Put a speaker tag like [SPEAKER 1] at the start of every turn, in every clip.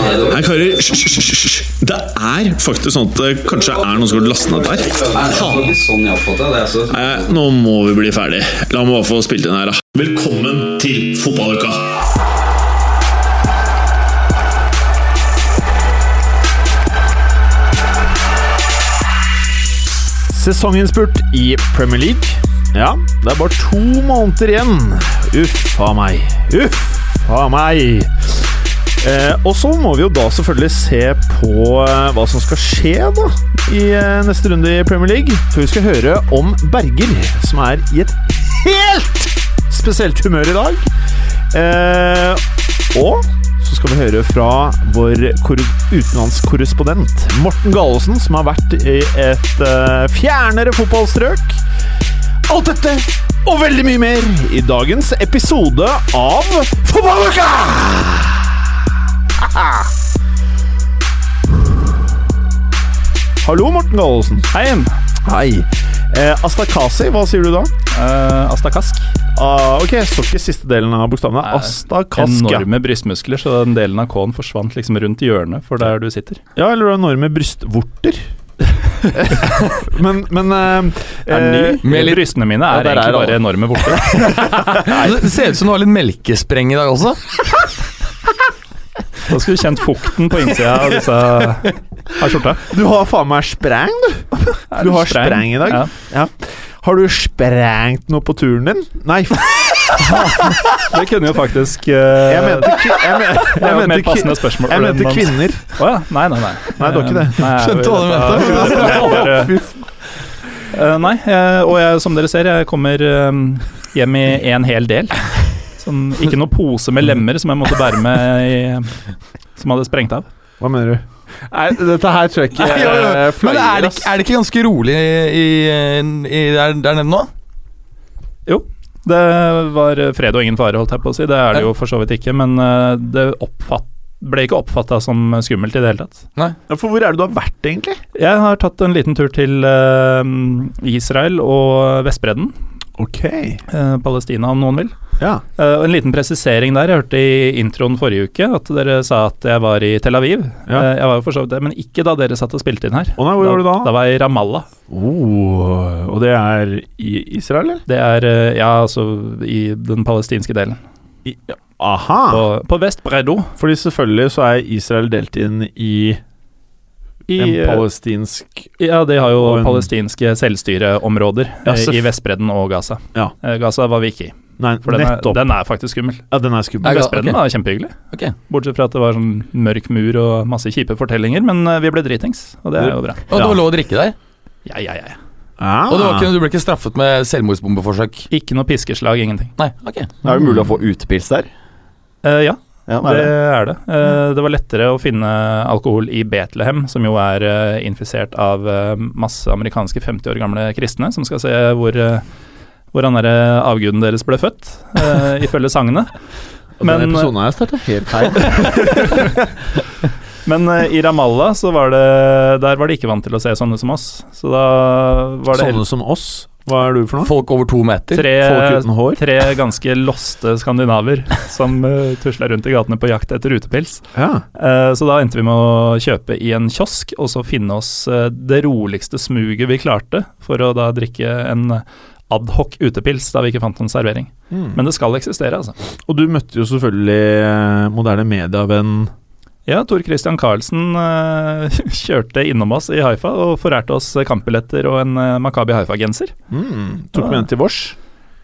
[SPEAKER 1] hører hysj, hysj, hysj, hysj. Det er faktisk sånn at det kanskje er noen som har lastet ned
[SPEAKER 2] Det
[SPEAKER 1] der.
[SPEAKER 2] er ikke sånn jeg oppfatter det. det. er så-
[SPEAKER 1] Nei, nå må vi bli ferdig. La meg bare få spilt inn her, da. Velkommen til fotballuka!
[SPEAKER 3] Sesonginnspurt i Premier League. Ja, det er bare to måneder igjen. Uff a meg. Uff a meg. Eh, og så må vi jo da selvfølgelig se på eh, hva som skal skje da i eh, neste runde i Premier League. For vi skal høre om Berger, som er i et helt spesielt humør i dag. Eh, og så skal vi høre fra vår kor- utenlandskorrespondent Morten Galesen, som har vært i et eh, fjernere fotballstrøk. Alt dette og veldig mye mer i dagens episode av Fotballuka! Hallo, Morten Galesen.
[SPEAKER 4] Hei.
[SPEAKER 3] Hei. Eh, Astakasi, hva sier du da?
[SPEAKER 4] Uh, Asta Kask.
[SPEAKER 3] Ah, ok, så ikke siste delen av bokstavene. Astakask. ja.
[SPEAKER 4] Enorme brystmuskler, så den delen av K-en forsvant liksom rundt hjørnet for der du sitter.
[SPEAKER 3] Ja, eller du har enorme brystvorter. men men eh,
[SPEAKER 4] Er den
[SPEAKER 3] eh,
[SPEAKER 4] ny?
[SPEAKER 5] Med litt-
[SPEAKER 4] Brystene mine
[SPEAKER 5] Ja,
[SPEAKER 4] er
[SPEAKER 5] der er
[SPEAKER 4] egentlig
[SPEAKER 5] det
[SPEAKER 4] bare enorme vorter.
[SPEAKER 5] Det ser ut som du har litt melkespreng i dag også.
[SPEAKER 4] Da skulle du kjent fukten på innsida av disse av skjorta.
[SPEAKER 3] Du har faen meg sprang, du! Du har sprang i dag.
[SPEAKER 4] Ja.
[SPEAKER 3] Har du sprengt noe på turen din? Nei, f-
[SPEAKER 4] Det kunne jo faktisk eh,
[SPEAKER 3] jeg mente, ki- jeg men,
[SPEAKER 4] Det er
[SPEAKER 3] jeg
[SPEAKER 4] jo et
[SPEAKER 3] mente,
[SPEAKER 4] mer
[SPEAKER 3] ki-
[SPEAKER 4] passende spørsmål.
[SPEAKER 3] jeg mente kvinner.
[SPEAKER 4] Å ja. Nei, nei, nei.
[SPEAKER 3] Nei, det var ikke det.
[SPEAKER 4] Nei, jeg-
[SPEAKER 5] Skjønte hva du mente.
[SPEAKER 4] jeg- jeg- jeg- jeg-
[SPEAKER 3] Fy
[SPEAKER 4] Eh, nei, jeg, og jeg, som dere ser, jeg kommer eh, hjem i en hel del. Sånn, ikke noe pose med lemmer som jeg måtte bære med i, som hadde sprengt av.
[SPEAKER 3] Hva mener du? Nei, dette her tror jeg ikke
[SPEAKER 5] Nei, jo, jo.
[SPEAKER 3] eh,
[SPEAKER 5] Men er
[SPEAKER 3] flyer,
[SPEAKER 5] det,
[SPEAKER 3] ass.
[SPEAKER 5] ikke- er det ikke ganske rolig i, i, der, der nede nå?
[SPEAKER 4] Det var fred og ingen fare, holdt jeg på å si. Det er det jo for så vidt ikke, men eh, det oppfatt, ble ikke oppfatta som skummelt i det hele tatt.
[SPEAKER 3] Ja, For hvor er det du har vært, egentlig?
[SPEAKER 4] Jeg har tatt en liten tur til eh, Israel og Vestbredden.
[SPEAKER 3] Ok.
[SPEAKER 4] eh, Palestina, om noen vil.
[SPEAKER 3] Ja.
[SPEAKER 4] Eh, og en liten presisering der. Jeg hørte i introen forrige uke at dere sa at jeg var i Tel Aviv.
[SPEAKER 3] Ja.
[SPEAKER 4] Eh, jeg var jo for så vidt det, men ikke da dere satt og spilte inn her.
[SPEAKER 3] Å nei, hvor var du da?
[SPEAKER 4] Da var jeg i Ramallah.
[SPEAKER 3] Oh, og det er i Israel, eller?
[SPEAKER 4] Det er eh, ja, altså i den palestinske delen.
[SPEAKER 3] Aha!
[SPEAKER 4] På, på Vestbreddo.
[SPEAKER 3] Fordi selvfølgelig så er Israel delt inn i
[SPEAKER 4] I,
[SPEAKER 3] en
[SPEAKER 4] eh,
[SPEAKER 3] palestinsk
[SPEAKER 4] Ja, de har jo
[SPEAKER 3] Og en-
[SPEAKER 4] palestinske selvstyreområder
[SPEAKER 3] Ja,
[SPEAKER 4] eh,
[SPEAKER 3] selvf-
[SPEAKER 4] i Vestbredden og Gaza.
[SPEAKER 3] Ja.
[SPEAKER 4] Eh, Gaza var vi ikke i,
[SPEAKER 3] Nei,
[SPEAKER 4] for den er,
[SPEAKER 3] nettopp.
[SPEAKER 4] den er faktisk skummel.
[SPEAKER 3] ja, den er skummel.
[SPEAKER 5] Nei, ga-
[SPEAKER 4] Vestbredden
[SPEAKER 5] ok.
[SPEAKER 4] var kjempehyggelig,
[SPEAKER 5] Ok.
[SPEAKER 4] bortsett fra at det var sånn mørk mur og masse kjipe fortellinger, men eh, vi ble dritings, og det er jo bra.
[SPEAKER 5] Og det
[SPEAKER 3] Ja.
[SPEAKER 5] var lov å drikke der?
[SPEAKER 4] Ja, ja, ja.
[SPEAKER 3] Ah.
[SPEAKER 5] Og det var ikke, du ble ikke straffet med selvmordsbombeforsøk?
[SPEAKER 4] Ikke noe piskeslag, ingenting.
[SPEAKER 5] Nei, ok.
[SPEAKER 6] Er det mulig å få utepils der?
[SPEAKER 4] Eh, ja,
[SPEAKER 6] Ja,
[SPEAKER 4] det er det. Eh, det var lettere å finne alkohol i Betlehem, som jo er eh, infisert av eh, masse amerikanske 50 år gamle kristne, som skal se hvor, eh, hvor han derre avguden deres ble født, eh, ifølge sangene.
[SPEAKER 3] Men,
[SPEAKER 4] Men-
[SPEAKER 3] Denne episoden her starta helt feil.
[SPEAKER 4] Men eh, i Ramallah så var det Der var de ikke vant til å se sånne som oss. Så da var det
[SPEAKER 3] Sånne som oss. Hva er du for noe?
[SPEAKER 5] Folk over to meter?
[SPEAKER 4] tre,
[SPEAKER 3] Folk uten hår?
[SPEAKER 4] tre ganske loste skandinaver som uh, tusla rundt i gatene på jakt etter utepils.
[SPEAKER 3] Ja.
[SPEAKER 4] Eh, så da endte vi med å kjøpe i en kiosk, og så finne oss eh, det roligste smuget vi klarte, for å da drikke en adhoc utepils da vi ikke fant noen servering.
[SPEAKER 3] Mm.
[SPEAKER 4] Men det skal eksistere, altså.
[SPEAKER 3] Og du møtte jo selvfølgelig eh, moderne medievenn
[SPEAKER 4] Ja, Tor Christian Karlsen eh, kjørte innom oss i Haifa og forærte oss eh, kampbilletter og en eh, Makabi Haifa-genser.
[SPEAKER 3] mm. Tok med den til vårs.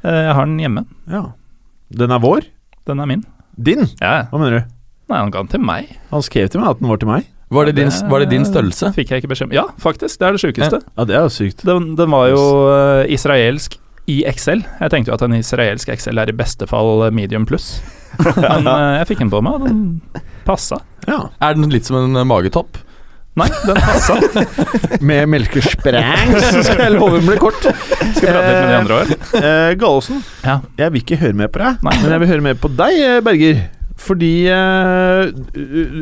[SPEAKER 4] Eh, jeg har den hjemme.
[SPEAKER 3] Ja. Den er vår?
[SPEAKER 4] Den er min.
[SPEAKER 3] Din?
[SPEAKER 4] Ja, ja.
[SPEAKER 3] Hva mener du?
[SPEAKER 4] Nei, han ga den til meg.
[SPEAKER 3] Han skrev til meg at den var til meg.
[SPEAKER 5] Var det din, var det din størrelse?
[SPEAKER 4] Fikk jeg ikke beskjed om. Ja, faktisk. Det er det sjukeste.
[SPEAKER 3] Ja, det er jo sykt.
[SPEAKER 4] Den, den var jo eh, israelsk i XL. Jeg tenkte jo at en israelsk XL er i beste fall eh, medium pluss. Men eh, jeg fikk den på meg, og den passa.
[SPEAKER 3] Ja.
[SPEAKER 5] Er den litt som en eh, magetopp?
[SPEAKER 4] Nei, den passa.
[SPEAKER 3] Med melkesprang, så skal jeg love den blir kort.
[SPEAKER 4] Skal prate litt med de andre òg.
[SPEAKER 3] Eh, Gallosen,
[SPEAKER 4] Ja.
[SPEAKER 3] jeg vil ikke høre mer på deg,
[SPEAKER 4] Nei.
[SPEAKER 3] men jeg vil høre mer på deg, eh, Berger. Fordi eh,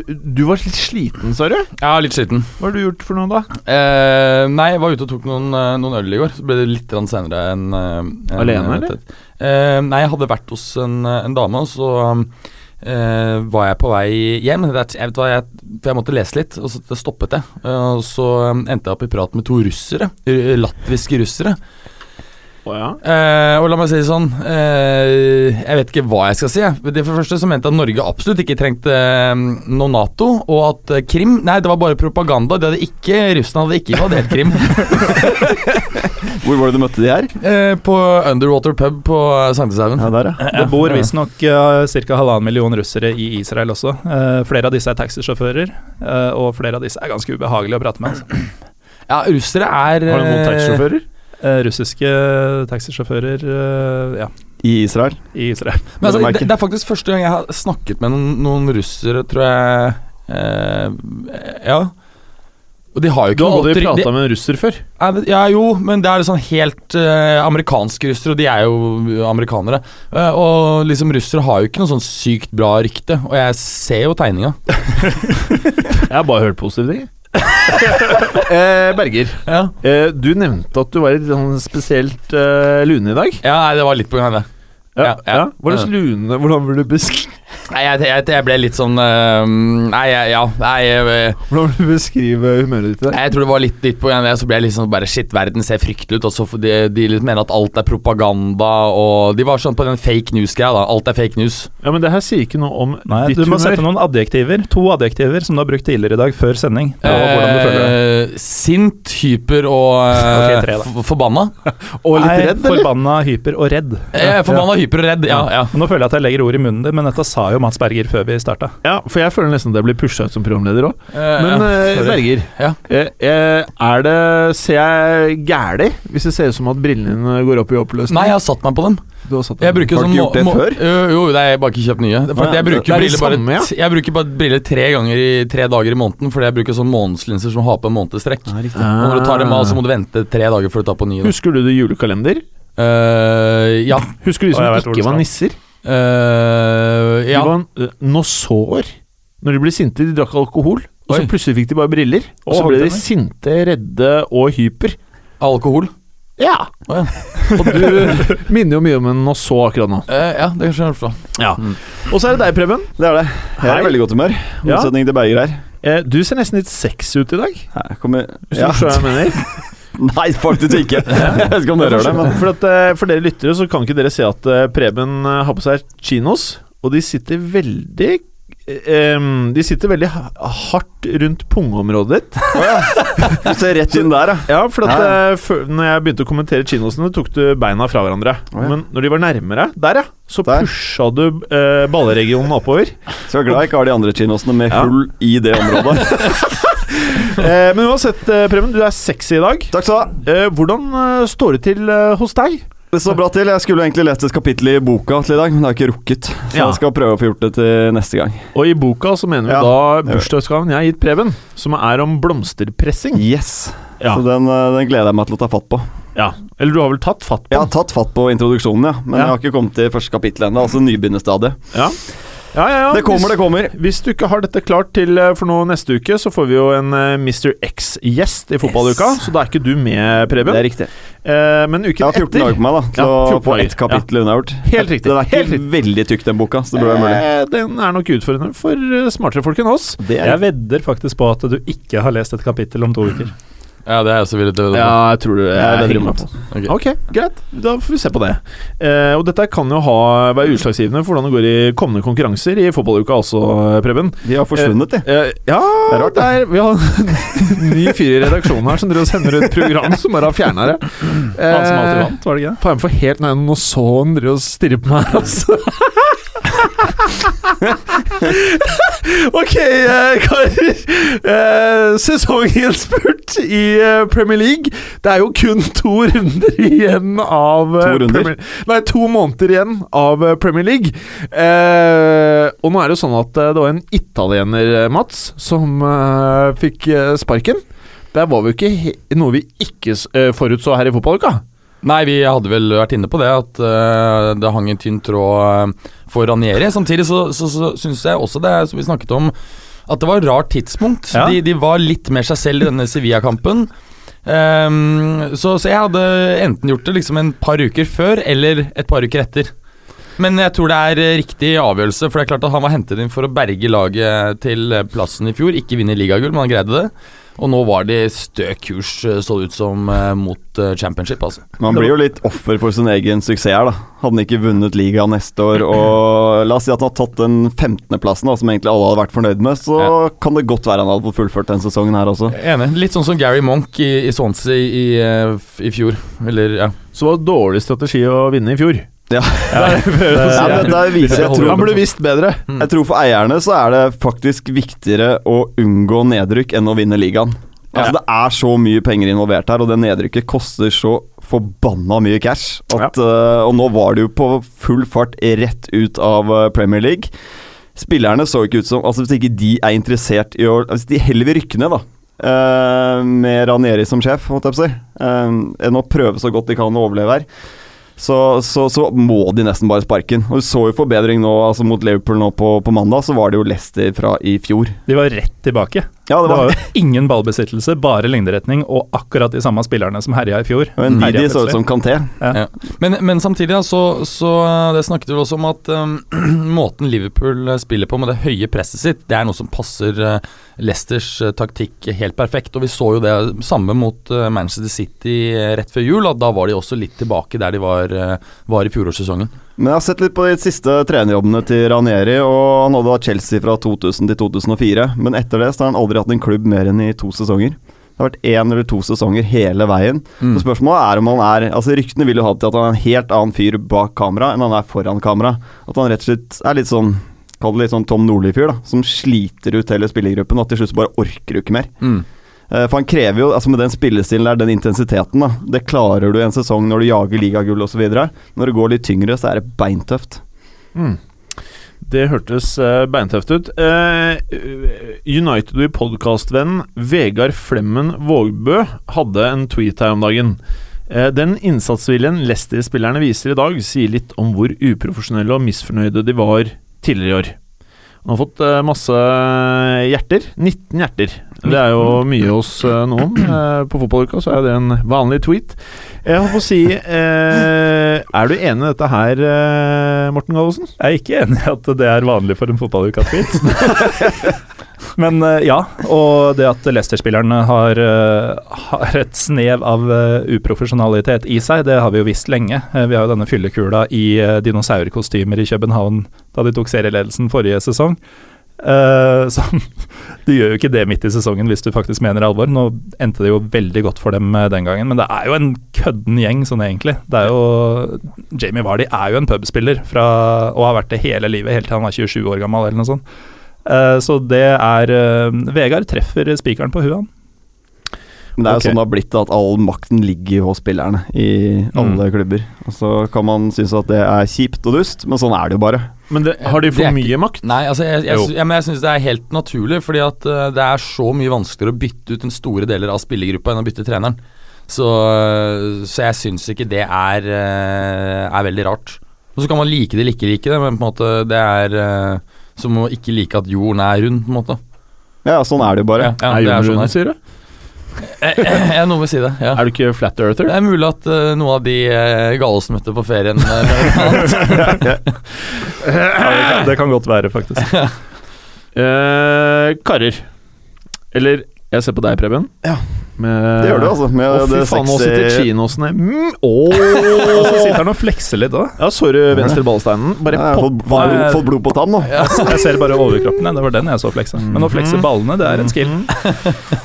[SPEAKER 3] du var litt sliten, sa du?
[SPEAKER 5] Ja, litt sliten.
[SPEAKER 3] Hva har du gjort for noe, da?
[SPEAKER 5] Eh, nei, jeg var ute og tok noen, eh, noen øl i går. Så ble det litt grann senere enn eh, enn-
[SPEAKER 3] Alene, eller?
[SPEAKER 5] Eh, nei, jeg hadde vært hos en, eh, en dame, og så um, eh, var jeg på vei hjem. Det er- Jeg vet hva, jeg, for jeg måtte lese litt, og så stoppet jeg. Eh, Og så eh, endte jeg opp i prat med to russere. r- Latviske russere.
[SPEAKER 3] Å ja.
[SPEAKER 5] Eh, og la meg si det sånn eh, Jeg vet ikke hva jeg skal si. jeg. Men det For det første så mente jeg at Norge absolutt ikke trengte eh, noe Nato, og at eh, Krim Nei, det var bare propaganda. De hadde ikke, Russland hadde ikke invadert Krim.
[SPEAKER 6] Hvor var det du møtte de her?
[SPEAKER 5] Eh, på Underwater pub på eh, Sankthanshaugen.
[SPEAKER 6] Ja, der, ja.
[SPEAKER 4] Det bor visstnok uh, ca. halvannen million russere i Israel også. Eh, flere av disse er taxisjåfører, eh, og flere av disse er ganske ubehagelige å prate med. Altså.
[SPEAKER 5] Ja, russere er
[SPEAKER 3] Har du noen
[SPEAKER 5] eh,
[SPEAKER 3] taxisjåfører?
[SPEAKER 4] Eh, russiske taxisjåfører eh, ja,
[SPEAKER 6] I Israel?
[SPEAKER 4] i Israel.
[SPEAKER 5] Men
[SPEAKER 6] Vel
[SPEAKER 5] altså,
[SPEAKER 6] å merke.
[SPEAKER 5] det, det er faktisk første gang jeg har snakket med noen, noen russere, tror jeg. eh, ja. Og de har jo
[SPEAKER 3] Du
[SPEAKER 5] ikke
[SPEAKER 3] har
[SPEAKER 5] noe
[SPEAKER 3] aldri
[SPEAKER 5] alter- de-
[SPEAKER 3] prata med en russer før?
[SPEAKER 5] Nei, men- Ja, jo, men det er sånn helt eh, amerikanske russere, og de er jo amerikanere. Eh, og liksom russere har jo ikke noe sånn sykt bra rykte, og jeg ser jo tegninga.
[SPEAKER 3] Jeg har bare hørt positive ting. eh, Berger,
[SPEAKER 5] Ja.
[SPEAKER 3] eh, du nevnte at du var litt sånn spesielt eh, lune i dag.
[SPEAKER 5] ja, nei, det var litt på grunn av det. Ja, ja.
[SPEAKER 3] Hva slags lune Hvordan vil du besk
[SPEAKER 5] Nei, jeg, jeg, jeg ble litt sånn eh, Nei, jeg, ja. Nei, jeg,
[SPEAKER 3] Hvordan vil du beskrive humøret ditt i dag?
[SPEAKER 5] Nei, Jeg tror det var litt ditt på en, så ble jeg litt sånn bare Shit, verden ser fryktelig ut. Og så får de, de litt mener at alt er propaganda, og De var sånn på den fake news-greia, da. Alt er fake news.
[SPEAKER 3] Ja, men Det her sier ikke noe om
[SPEAKER 4] Nei,
[SPEAKER 3] ditt
[SPEAKER 4] du må sette
[SPEAKER 3] humør.
[SPEAKER 4] noen adjektiver, to adjektiver som du har brukt tidligere i dag, før sending. På hvordan du føler deg.
[SPEAKER 5] Eh, sint, hyper og eh,
[SPEAKER 4] Ok, tre, da.
[SPEAKER 5] f- forbanna.
[SPEAKER 3] Og
[SPEAKER 4] Nei,
[SPEAKER 3] litt redd, eller?
[SPEAKER 4] Forbanna, hyper og redd.
[SPEAKER 5] Eh, forbanna, hyper og redd. Ja, ja.
[SPEAKER 4] Men Nå føler jeg at jeg legger ord i munnen din, men dette sa jo Mats Berger før vi starta.
[SPEAKER 3] Ja, for jeg føler nesten at jeg blir pusha ut som programleder òg.
[SPEAKER 5] Eh,
[SPEAKER 3] Men
[SPEAKER 5] ja.
[SPEAKER 3] eh,
[SPEAKER 5] sorry.
[SPEAKER 3] Berger,
[SPEAKER 5] Ja.
[SPEAKER 3] eh, eh, er det Ser jeg gæli hvis det ser ut som at brillene dine går opp i oppløsning?
[SPEAKER 5] Nei, jeg har satt meg på dem.
[SPEAKER 3] Du har satt
[SPEAKER 5] Jeg bruker
[SPEAKER 6] Har du
[SPEAKER 5] sånn
[SPEAKER 6] ikke gjort det
[SPEAKER 5] må- må-
[SPEAKER 6] før?
[SPEAKER 5] Jo, jo, nei, jeg har bare ikke kjøpt nye. Det er fordi
[SPEAKER 6] Nei,
[SPEAKER 5] jeg,
[SPEAKER 3] det er
[SPEAKER 5] bruker
[SPEAKER 3] det
[SPEAKER 5] briller bare,
[SPEAKER 3] samme, ja.
[SPEAKER 5] t- jeg bruker bare briller tre ganger i tre dager i måneden, fordi jeg bruker sånn månedslinser som har på en månedstrekk. Og når du tar dem av, så må du vente tre dager før du tar på nye. da.
[SPEAKER 3] Husker du det julekalender?
[SPEAKER 5] Eh, ja.
[SPEAKER 3] Husker du de
[SPEAKER 4] Å, jeg
[SPEAKER 3] som
[SPEAKER 4] vet hvor du
[SPEAKER 3] ikke var
[SPEAKER 4] skal.
[SPEAKER 3] nisser?
[SPEAKER 5] Eh,
[SPEAKER 3] De
[SPEAKER 5] ja.
[SPEAKER 3] var eh, noe sår når de ble sinte. De drakk alkohol, og så
[SPEAKER 5] Oi.
[SPEAKER 3] plutselig fikk de bare briller. Og
[SPEAKER 4] Å,
[SPEAKER 3] så ble
[SPEAKER 4] det
[SPEAKER 3] de
[SPEAKER 4] var-
[SPEAKER 3] sinte, redde og hyper.
[SPEAKER 5] Alkohol.
[SPEAKER 3] Ja!
[SPEAKER 5] Å, ja.
[SPEAKER 3] Og du minner jo mye om en Nosso akkurat nå.
[SPEAKER 5] Eh, ja, det kan jeg skjønne. forstå.
[SPEAKER 3] Og så er det deg, Preben.
[SPEAKER 6] Det er det. Jeg er i
[SPEAKER 3] Hei.
[SPEAKER 6] veldig godt humør.
[SPEAKER 3] Ja.
[SPEAKER 6] Motsetning til Berger her.
[SPEAKER 3] Eh, Du ser nesten litt sexy ut i dag.
[SPEAKER 6] Her kommer
[SPEAKER 3] Hvis
[SPEAKER 6] ja.
[SPEAKER 3] du skjønner hva jeg mener.
[SPEAKER 6] Nei, faktisk ikke. Jeg vet ikke om dere hører det, men
[SPEAKER 3] For, at, eh, for dere lyttere så kan ikke dere se at eh, Preben eh, har på seg chinos, og de sitter veldig eh, em, de sitter veldig ha- hardt rundt pungeområdet ditt.
[SPEAKER 6] du ser rett inn der, ja.
[SPEAKER 3] Ja, for at
[SPEAKER 6] Ja,
[SPEAKER 3] eh, før- når jeg begynte å kommentere chinosene, tok du beina fra hverandre.
[SPEAKER 6] Å, ja.
[SPEAKER 3] Men når de var nærmere, der ja, så
[SPEAKER 6] Der.
[SPEAKER 3] pusha du eh, balleregionen oppover.
[SPEAKER 6] Så jeg er glad jeg ikke har de andre chinosene med
[SPEAKER 3] Ja.
[SPEAKER 6] hull i det området.
[SPEAKER 3] Eh, men uansett, eh, Preben, du er sexy i dag.
[SPEAKER 6] Takk skal du ha.
[SPEAKER 3] Eh, hvordan eh, står det til eh, hos deg?
[SPEAKER 6] Det står bra til. Jeg skulle egentlig lest et kapittel i boka til i dag, men det har jeg ikke rukket. Så
[SPEAKER 3] Ja.
[SPEAKER 6] jeg skal prøve å få gjort det til neste gang.
[SPEAKER 3] Og i boka så mener vi
[SPEAKER 6] Ja,
[SPEAKER 3] da bursdagsgaven jeg har gitt Preben, som er om blomsterpressing.
[SPEAKER 6] Yes.
[SPEAKER 3] Ja.
[SPEAKER 6] Så den, eh, den gleder jeg meg til å ta fatt på.
[SPEAKER 3] Ja, eller du har vel tatt fatt
[SPEAKER 6] Jeg
[SPEAKER 3] på
[SPEAKER 6] har
[SPEAKER 3] den?
[SPEAKER 6] tatt fatt på introduksjonen, ja. Men
[SPEAKER 3] Ja.
[SPEAKER 6] jeg har ikke kommet til første kapittel ennå, altså nybegynnerstadiet.
[SPEAKER 3] Ja, ja, ja, ja.
[SPEAKER 6] Det kommer, det kommer.
[SPEAKER 3] Hvis, hvis du ikke har dette klart til eh, for noe neste uke, så får vi jo en eh, Mr. X-gjest i fotballuka, så da er ikke du med,
[SPEAKER 6] Det
[SPEAKER 3] Preben.
[SPEAKER 6] er riktig.
[SPEAKER 3] Eh, men
[SPEAKER 6] Jeg
[SPEAKER 3] uken
[SPEAKER 6] har 14 dager
[SPEAKER 3] etter
[SPEAKER 6] på meg da til
[SPEAKER 3] Ja,
[SPEAKER 6] å
[SPEAKER 3] 14
[SPEAKER 6] få
[SPEAKER 3] dager.
[SPEAKER 6] ett kapittel unnagjort.
[SPEAKER 3] Helt riktig,
[SPEAKER 6] Den er ikke
[SPEAKER 3] helt riktig.
[SPEAKER 6] veldig tykk, den boka, så det burde være mulig.
[SPEAKER 3] eh, Den er nok utfordrende for eh, smartere folk enn oss.
[SPEAKER 6] Det
[SPEAKER 4] Jeg vedder faktisk på at du ikke har lest et kapittel om to uker.
[SPEAKER 5] Ja, det er jeg også villig til å vedde på.
[SPEAKER 3] jeg tror du
[SPEAKER 6] Jeg vedder
[SPEAKER 3] meg
[SPEAKER 6] imot.
[SPEAKER 3] på. Ok, greit. Da får vi se på det. Eh, og dette kan jo ha, være utslagsgivende for hvordan det går i kommende konkurranser i fotballuka også, eh, Preben.
[SPEAKER 6] De har forsvunnet, de.
[SPEAKER 3] Eh, ja
[SPEAKER 6] Det er rart,
[SPEAKER 3] det er, Vi har en ny fyr i redaksjonen her som driver og sender ut program som bare har fjerna det. Eh.
[SPEAKER 4] Han som alltid vant, var det ikke det?
[SPEAKER 3] Faen for helt Nei, nå så han driver og stirrer på meg her, altså. ok, eh, karer. Eh, Sesonginnspurt i eh, Premier League. Det er jo kun to runder igjen av eh,
[SPEAKER 6] To runder?
[SPEAKER 3] Premier, nei, to måneder igjen av eh, Premier League. Eh, og nå er det jo sånn at eh, det var en italiener, eh, Mats, som eh, fikk eh, sparken. Der var vi jo ikke he noe vi ikke s- eh, forutså her i fotballuka.
[SPEAKER 5] Nei, vi hadde vel vært inne på det, at eh, det hang en tynn tråd eh, for Ranieri. Samtidig så, så, så syns jeg også det, er, som vi snakket om, at det var et rart tidspunkt.
[SPEAKER 4] Ja.
[SPEAKER 5] De, de var litt mer seg selv i denne Sevilla-kampen. Ehm, så, så jeg hadde enten gjort det liksom en par uker før eller et par uker etter. Men jeg tror det er eh, riktig avgjørelse, for det er klart at han var hentet inn for å berge laget til eh, plassen i fjor. Ikke vinne ligagull, men han greide det. Og nå var de stø kurs, eh, så det ut som, eh, mot eh, championship, altså.
[SPEAKER 6] Man blir jo litt offer for sin egen suksess her, da. Hadde han ikke vunnet ligaen neste år, og la oss si at han hadde tatt den 15.-plassen, da, som egentlig alle hadde vært fornøyd med, så kan det godt være han hadde fått fullført den sesongen her også.
[SPEAKER 5] Enig. Litt sånn som Gary Monk i, i Swansea i, eh, f- i fjor. Eller, ja.
[SPEAKER 3] Så det var dårlig strategi å vinne i fjor.
[SPEAKER 6] Ja.
[SPEAKER 3] Det er det jeg prøver å
[SPEAKER 6] Ja,
[SPEAKER 3] si.
[SPEAKER 6] men det viser, jeg,
[SPEAKER 3] Han
[SPEAKER 6] tror,
[SPEAKER 3] burde visst bedre.
[SPEAKER 6] jeg tror for eierne så er det faktisk viktigere å unngå nedrykk enn å vinne ligaen. Altså Det er så mye penger involvert her, og det nedrykket koster så forbanna mye cash. At, eh, og nå var det jo på full fart rett ut av eh, Premier League. Spillerne så ikke ut som Altså Hvis ikke de er interessert i å Hvis de heller vil rykke ned, da. eh, med Ranieri som sjef, holdt jeg på å si. eh, enn å prøve så godt de kan å overleve her. Så, så, så må de nesten bare sparke den. Og Du så jo forbedring nå altså mot Liverpool nå på, på mandag, så var det jo Leicester fra i fjor.
[SPEAKER 4] De var rett tilbake.
[SPEAKER 6] Ja,
[SPEAKER 4] Det var jo ingen ballbesittelse, bare lengderetning, og akkurat de samme spillerne som herja i fjor.
[SPEAKER 6] Men
[SPEAKER 4] herja
[SPEAKER 6] Didi så ut
[SPEAKER 4] plutselig.
[SPEAKER 6] som Kanté.
[SPEAKER 5] Men, men samtidig, da, så, så eh, det snakket vi også om at eh, måten Liverpool eh, spiller på med det høye presset sitt, det er noe som passer eh, Leicesters eh, taktikk helt perfekt. Og vi så jo det samme mot eh, Manchester City eh, rett før jul, at da var de også litt tilbake der de var, eh, var i fjorårssesongen.
[SPEAKER 6] Men jeg har sett litt på de siste trenerjobbene til Ranieri, og han hadde hatt Chelsea fra 2000 til 2004. Men etter det så har han aldri hatt en klubb mer enn i to sesonger. Det har vært én eller to sesonger hele veien. Så spørsmålet er om han er Altså Ryktene vil jo ha det til at han er en helt annen fyr bak kamera enn han er foran kamera. At han rett og slett er litt sånn Kall det litt sånn Tom Nordli-fyr, da. Som sliter ut hele spillergruppen, og til slutt så bare orker du ikke mer.
[SPEAKER 5] Mm.
[SPEAKER 6] Eh, For han krever jo, altså med den spillestilen der, den intensiteten, da. Det klarer du en sesong når du jager ligagull osv. Når det går litt tyngre, så er det beintøft.
[SPEAKER 3] Det hørtes eh, beintøft ut. Eh, United og podkastvenn Vegard Flemmen Vågbø hadde en tweet her om dagen. Eh, den innsatsviljen Leicester-spillerne viser i dag, sier litt om hvor uprofesjonelle og misfornøyde de var tidligere i år. Han har fått eh, masse hjerter. 19 hjerter. Det er jo mye hos eh, noen. Eh, på fotballuka så er jo det en vanlig tweet. Jeg holdt på å si eh, Er du enig i dette her, eh, Morten Gallosen?
[SPEAKER 4] Jeg er ikke enig i at det er vanlig for en fotballuka-tweet. Men eh, ja, og det at Leicester-spilleren har, eh, har et snev av eh, uprofesjonalitet i seg, det har vi jo visst lenge. Eh, Vi har jo denne fyllekula i eh, dinosaurkostymer i København da de tok serieledelsen forrige sesong. Eh, Så du gjør jo ikke det midt i sesongen hvis du faktisk mener alvor. Nå endte det jo veldig godt for dem eh, den gangen, men det er jo en kødden gjeng sånn egentlig. Det er jo Jamie Vardy er jo en pubspiller fra, og har vært det hele livet, helt til han var 27 år gammel eller noe sånt. Eh, så det er eh, Vegard treffer spikeren på huet, han.
[SPEAKER 6] Men det er jo
[SPEAKER 3] Ok.
[SPEAKER 6] sånn det har blitt, da, at all makten ligger jo hos spillerne i alle
[SPEAKER 3] Mm.
[SPEAKER 6] klubber. Og så kan man synes at det er kjipt og dust, men sånn er det jo bare.
[SPEAKER 3] Men det, har de
[SPEAKER 5] Det
[SPEAKER 3] for
[SPEAKER 5] er
[SPEAKER 3] mye makt?
[SPEAKER 5] Nei, altså jeg, jeg,
[SPEAKER 3] Jo.
[SPEAKER 5] sy- ja, men jeg syns det er helt naturlig, fordi at eh, det er så mye vanskeligere å bytte ut den store deler av spillergruppa enn å bytte treneren. Så, eh, så jeg syns ikke det er, eh, er veldig rart. Og så kan man like det eller ikke like det, men på en måte det er eh, som å ikke like at jorden er rund, på en måte.
[SPEAKER 6] Ja, sånn er det jo bare.
[SPEAKER 5] Ja, ja, det er sånn Eh, her.
[SPEAKER 3] sier du?
[SPEAKER 5] Ja, noen vil si det. Ja.
[SPEAKER 3] Er du ikke flat earther?
[SPEAKER 5] Det er mulig at eh, noen av de uh, galeste møtte på ferien eh,
[SPEAKER 4] det, kan, det kan godt være, faktisk.
[SPEAKER 3] Eh, karer. Eller jeg ser på deg, Preben.
[SPEAKER 6] Ja.
[SPEAKER 3] Med,
[SPEAKER 6] Det gjør du, altså. Med
[SPEAKER 3] Å, fy
[SPEAKER 6] det
[SPEAKER 3] faen, nå sitter
[SPEAKER 6] sexy
[SPEAKER 3] chinosene mm,
[SPEAKER 4] Og så
[SPEAKER 3] åh.
[SPEAKER 4] sitter han og flekser litt òg.
[SPEAKER 3] Ja, sorry, venstre ballsteinen.
[SPEAKER 6] Ja,
[SPEAKER 3] Bare
[SPEAKER 6] jeg har
[SPEAKER 3] pop.
[SPEAKER 6] fått- fått blod- fått blod på tann nå.
[SPEAKER 4] Jeg ser bare overkroppen, ja, det var den jeg så flekse. Men å flekse ballene, det er en skill.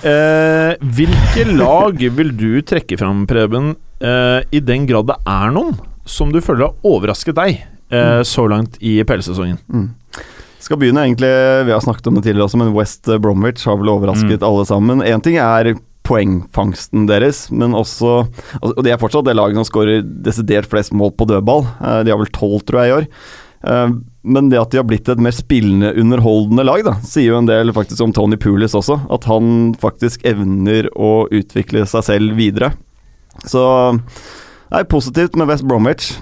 [SPEAKER 3] Eh, hvilke lag vil du trekke fram, Preben, eh, i den grad det er noen som du føler har overrasket deg eh, så langt i PL-sesongen?
[SPEAKER 6] Mm. Skal begynne egentlig, Vi har snakket om det tidligere også, men West Bromwich har vel overrasket alle sammen. Én ting er poengfangsten deres, men også altså, Og det er fortsatt det laget som skårer desidert flest mål på dødball. Eh, De har vel tolv, tror jeg, i år. Eh, Men det at de har blitt et mer spillende, underholdende lag, da, sier jo en del faktisk om Tony Pulis også. At han faktisk evner å utvikle seg selv videre. Så det er positivt med West Bromwich.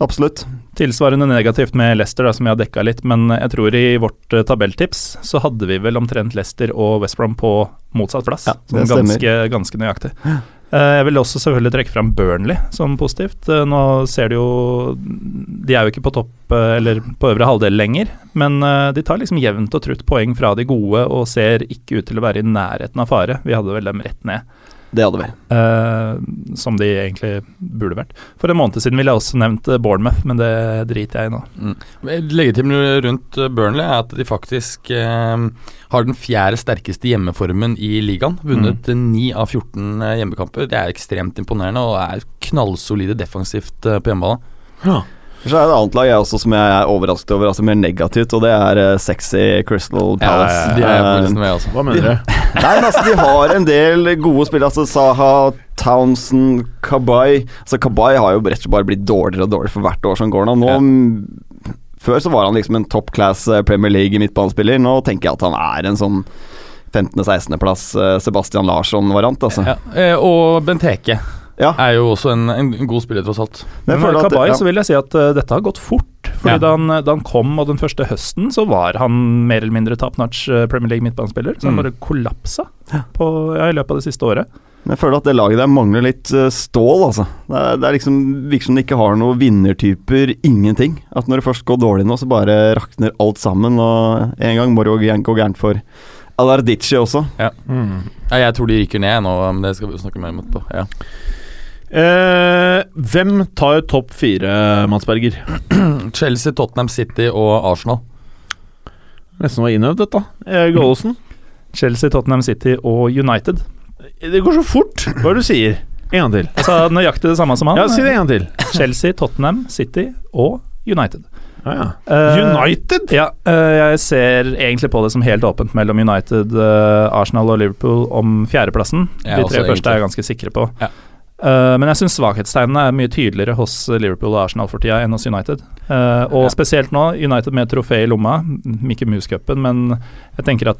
[SPEAKER 6] Absolutt.
[SPEAKER 4] Tilsvarende negativt med Leicester, da, som jeg har dekka litt, men jeg tror i vårt eh, tabelltips så hadde vi vel omtrent Leicester og West Brom på motsatt plass.
[SPEAKER 6] Ja,
[SPEAKER 4] sånn
[SPEAKER 6] det stemmer.
[SPEAKER 4] ganske, ganske nøyaktig. Eh, Jeg vil også selvfølgelig trekke fram Burnley som positivt. Eh, Nå ser du jo De er jo ikke på topp eh, eller på øvre halvdel lenger, men eh, de tar liksom jevnt og trutt poeng fra de gode og ser ikke ut til å være i nærheten av fare. Vi hadde vel dem rett ned.
[SPEAKER 6] Det hadde vi.
[SPEAKER 4] Eh, som de egentlig burde vært. For en måned siden ville jeg også nevnt eh, Bournemouth, men det driter jeg i nå.
[SPEAKER 5] Legetimen Mm. rundt eh, Burnley er at de faktisk eh, har den fjerde sterkeste hjemmeformen i ligaen. Vunnet eh,
[SPEAKER 4] Mm.
[SPEAKER 5] 9 av 14 hjemmekamper. Det er ekstremt imponerende og er knallsolide defensivt eh, på hjemmebane.
[SPEAKER 6] Så er det et annet lag jeg også som jeg er overrasket over, altså mer negativt, og det er eh, sexy Crystal Palace.
[SPEAKER 5] De er på
[SPEAKER 6] Eh,
[SPEAKER 5] listen med, altså.
[SPEAKER 3] Hva mener dere?
[SPEAKER 6] Nei, men altså, de har en del gode spillere. Altså Saha, Townsend, Kabay. Altså, Kabay har jo rett og slett bare blitt dårligere og dårligere for hvert år som går nå. nå Før så var han liksom en top class eh, Premier League midtbanespiller. Nå tenker jeg at han er en sånn 15.-16.-plass Sebastian Larsson-variant, altså.
[SPEAKER 5] Ja. Eh, og Benteke
[SPEAKER 6] Ja.
[SPEAKER 5] er jo også en, en god spiller, tross alt.
[SPEAKER 6] Men jeg
[SPEAKER 4] Men
[SPEAKER 6] føler at-
[SPEAKER 4] Kabay,
[SPEAKER 6] ja.
[SPEAKER 4] så vil jeg si at eh, dette har gått fort. Fordi
[SPEAKER 5] Ja.
[SPEAKER 4] da, han, da han kom, og den første høsten, så var han mer eller mindre top notch eh, Premier League midtbanespiller. Så han
[SPEAKER 5] Mm.
[SPEAKER 4] bare kollapsa på, ja, i løpet av det siste året.
[SPEAKER 6] Men jeg føler at det laget der mangler litt eh, stål, altså. Det, er, det er liksom, virker som de ikke har noen vinnertyper, ingenting. At når det først går dårlig nå, så bare rakner alt sammen. Og en gang må det jo gæ- gå gærent for Alardici også.
[SPEAKER 3] Mm.
[SPEAKER 5] Ja, jeg tror de ryker ned nå, men det skal vi jo snakke mer om etterpå. Ja.
[SPEAKER 3] Eh, hvem tar topp fire, Mads Berger?
[SPEAKER 5] Chelsea, Tottenham City og Arsenal.
[SPEAKER 3] Nesten var innøvd, dette. Eh, Gålåsen.
[SPEAKER 4] Chelsea, Tottenham City og United.
[SPEAKER 3] Det går så fort, hva er det du sier? En gang til.
[SPEAKER 4] Jeg sa nøyaktig det samme som han.
[SPEAKER 3] Ja, si det en gang til.
[SPEAKER 4] Chelsea, Tottenham City og United.
[SPEAKER 3] Ja, ja.
[SPEAKER 4] Eh,
[SPEAKER 3] United?
[SPEAKER 4] Ja, eh, jeg ser egentlig på det som helt åpent mellom United, eh, Arsenal og Liverpool om fjerdeplassen.
[SPEAKER 5] Ja,
[SPEAKER 4] De
[SPEAKER 5] også
[SPEAKER 4] tre første
[SPEAKER 5] egentlig.
[SPEAKER 4] er jeg ganske sikre på.
[SPEAKER 5] Ja.
[SPEAKER 4] Eh, men jeg syns svakhetstegnene er mye tydeligere hos Liverpool og Arsenal for tida enn hos United. Eh, og
[SPEAKER 5] Ja.
[SPEAKER 4] spesielt nå, United med trofé i lomma, Mickey Mouse-cupen, men jeg tenker at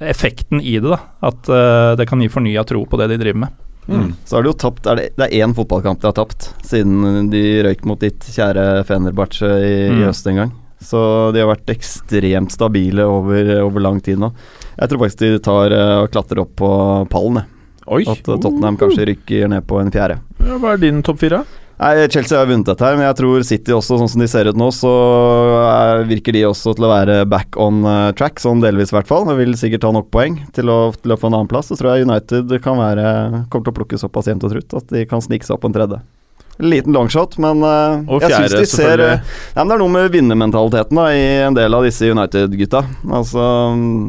[SPEAKER 4] effekten i det, da. At eh, det kan gi fornya tro på det de driver med.
[SPEAKER 3] Mm.
[SPEAKER 6] Så har de jo tapt er det, det er én fotballkamp de har tapt siden de røyk mot ditt kjære Fenerbahçe i, i
[SPEAKER 4] Mm.
[SPEAKER 6] høst en gang. Så de har vært ekstremt stabile over, over lang tid nå. Jeg tror faktisk de tar eh, og klatrer opp på pallen. jeg.
[SPEAKER 3] Oi.
[SPEAKER 6] At eh, Tottenham kanskje rykker ned på en fjerde.
[SPEAKER 3] Ja, Hva er din topp fire?
[SPEAKER 6] Nei, Chelsea har vunnet dette her, men jeg tror City også, sånn som de ser ut nå, så eh, virker de også til å være back on eh, track, sånn delvis i hvert fall. De vil sikkert ta nok poeng til å, til å få en annenplass. Så tror jeg United kan være, kommer til å plukke såpass jevnt og trutt at de kan snike seg opp på en tredje. Liten longshot, men eh,
[SPEAKER 3] Og
[SPEAKER 6] jeg
[SPEAKER 3] fjerde,
[SPEAKER 6] syns de ser
[SPEAKER 3] selvfølgelig.
[SPEAKER 6] eh, Nei, men Det er noe med vinnermentaliteten da, i en del av disse United-gutta. Altså mm,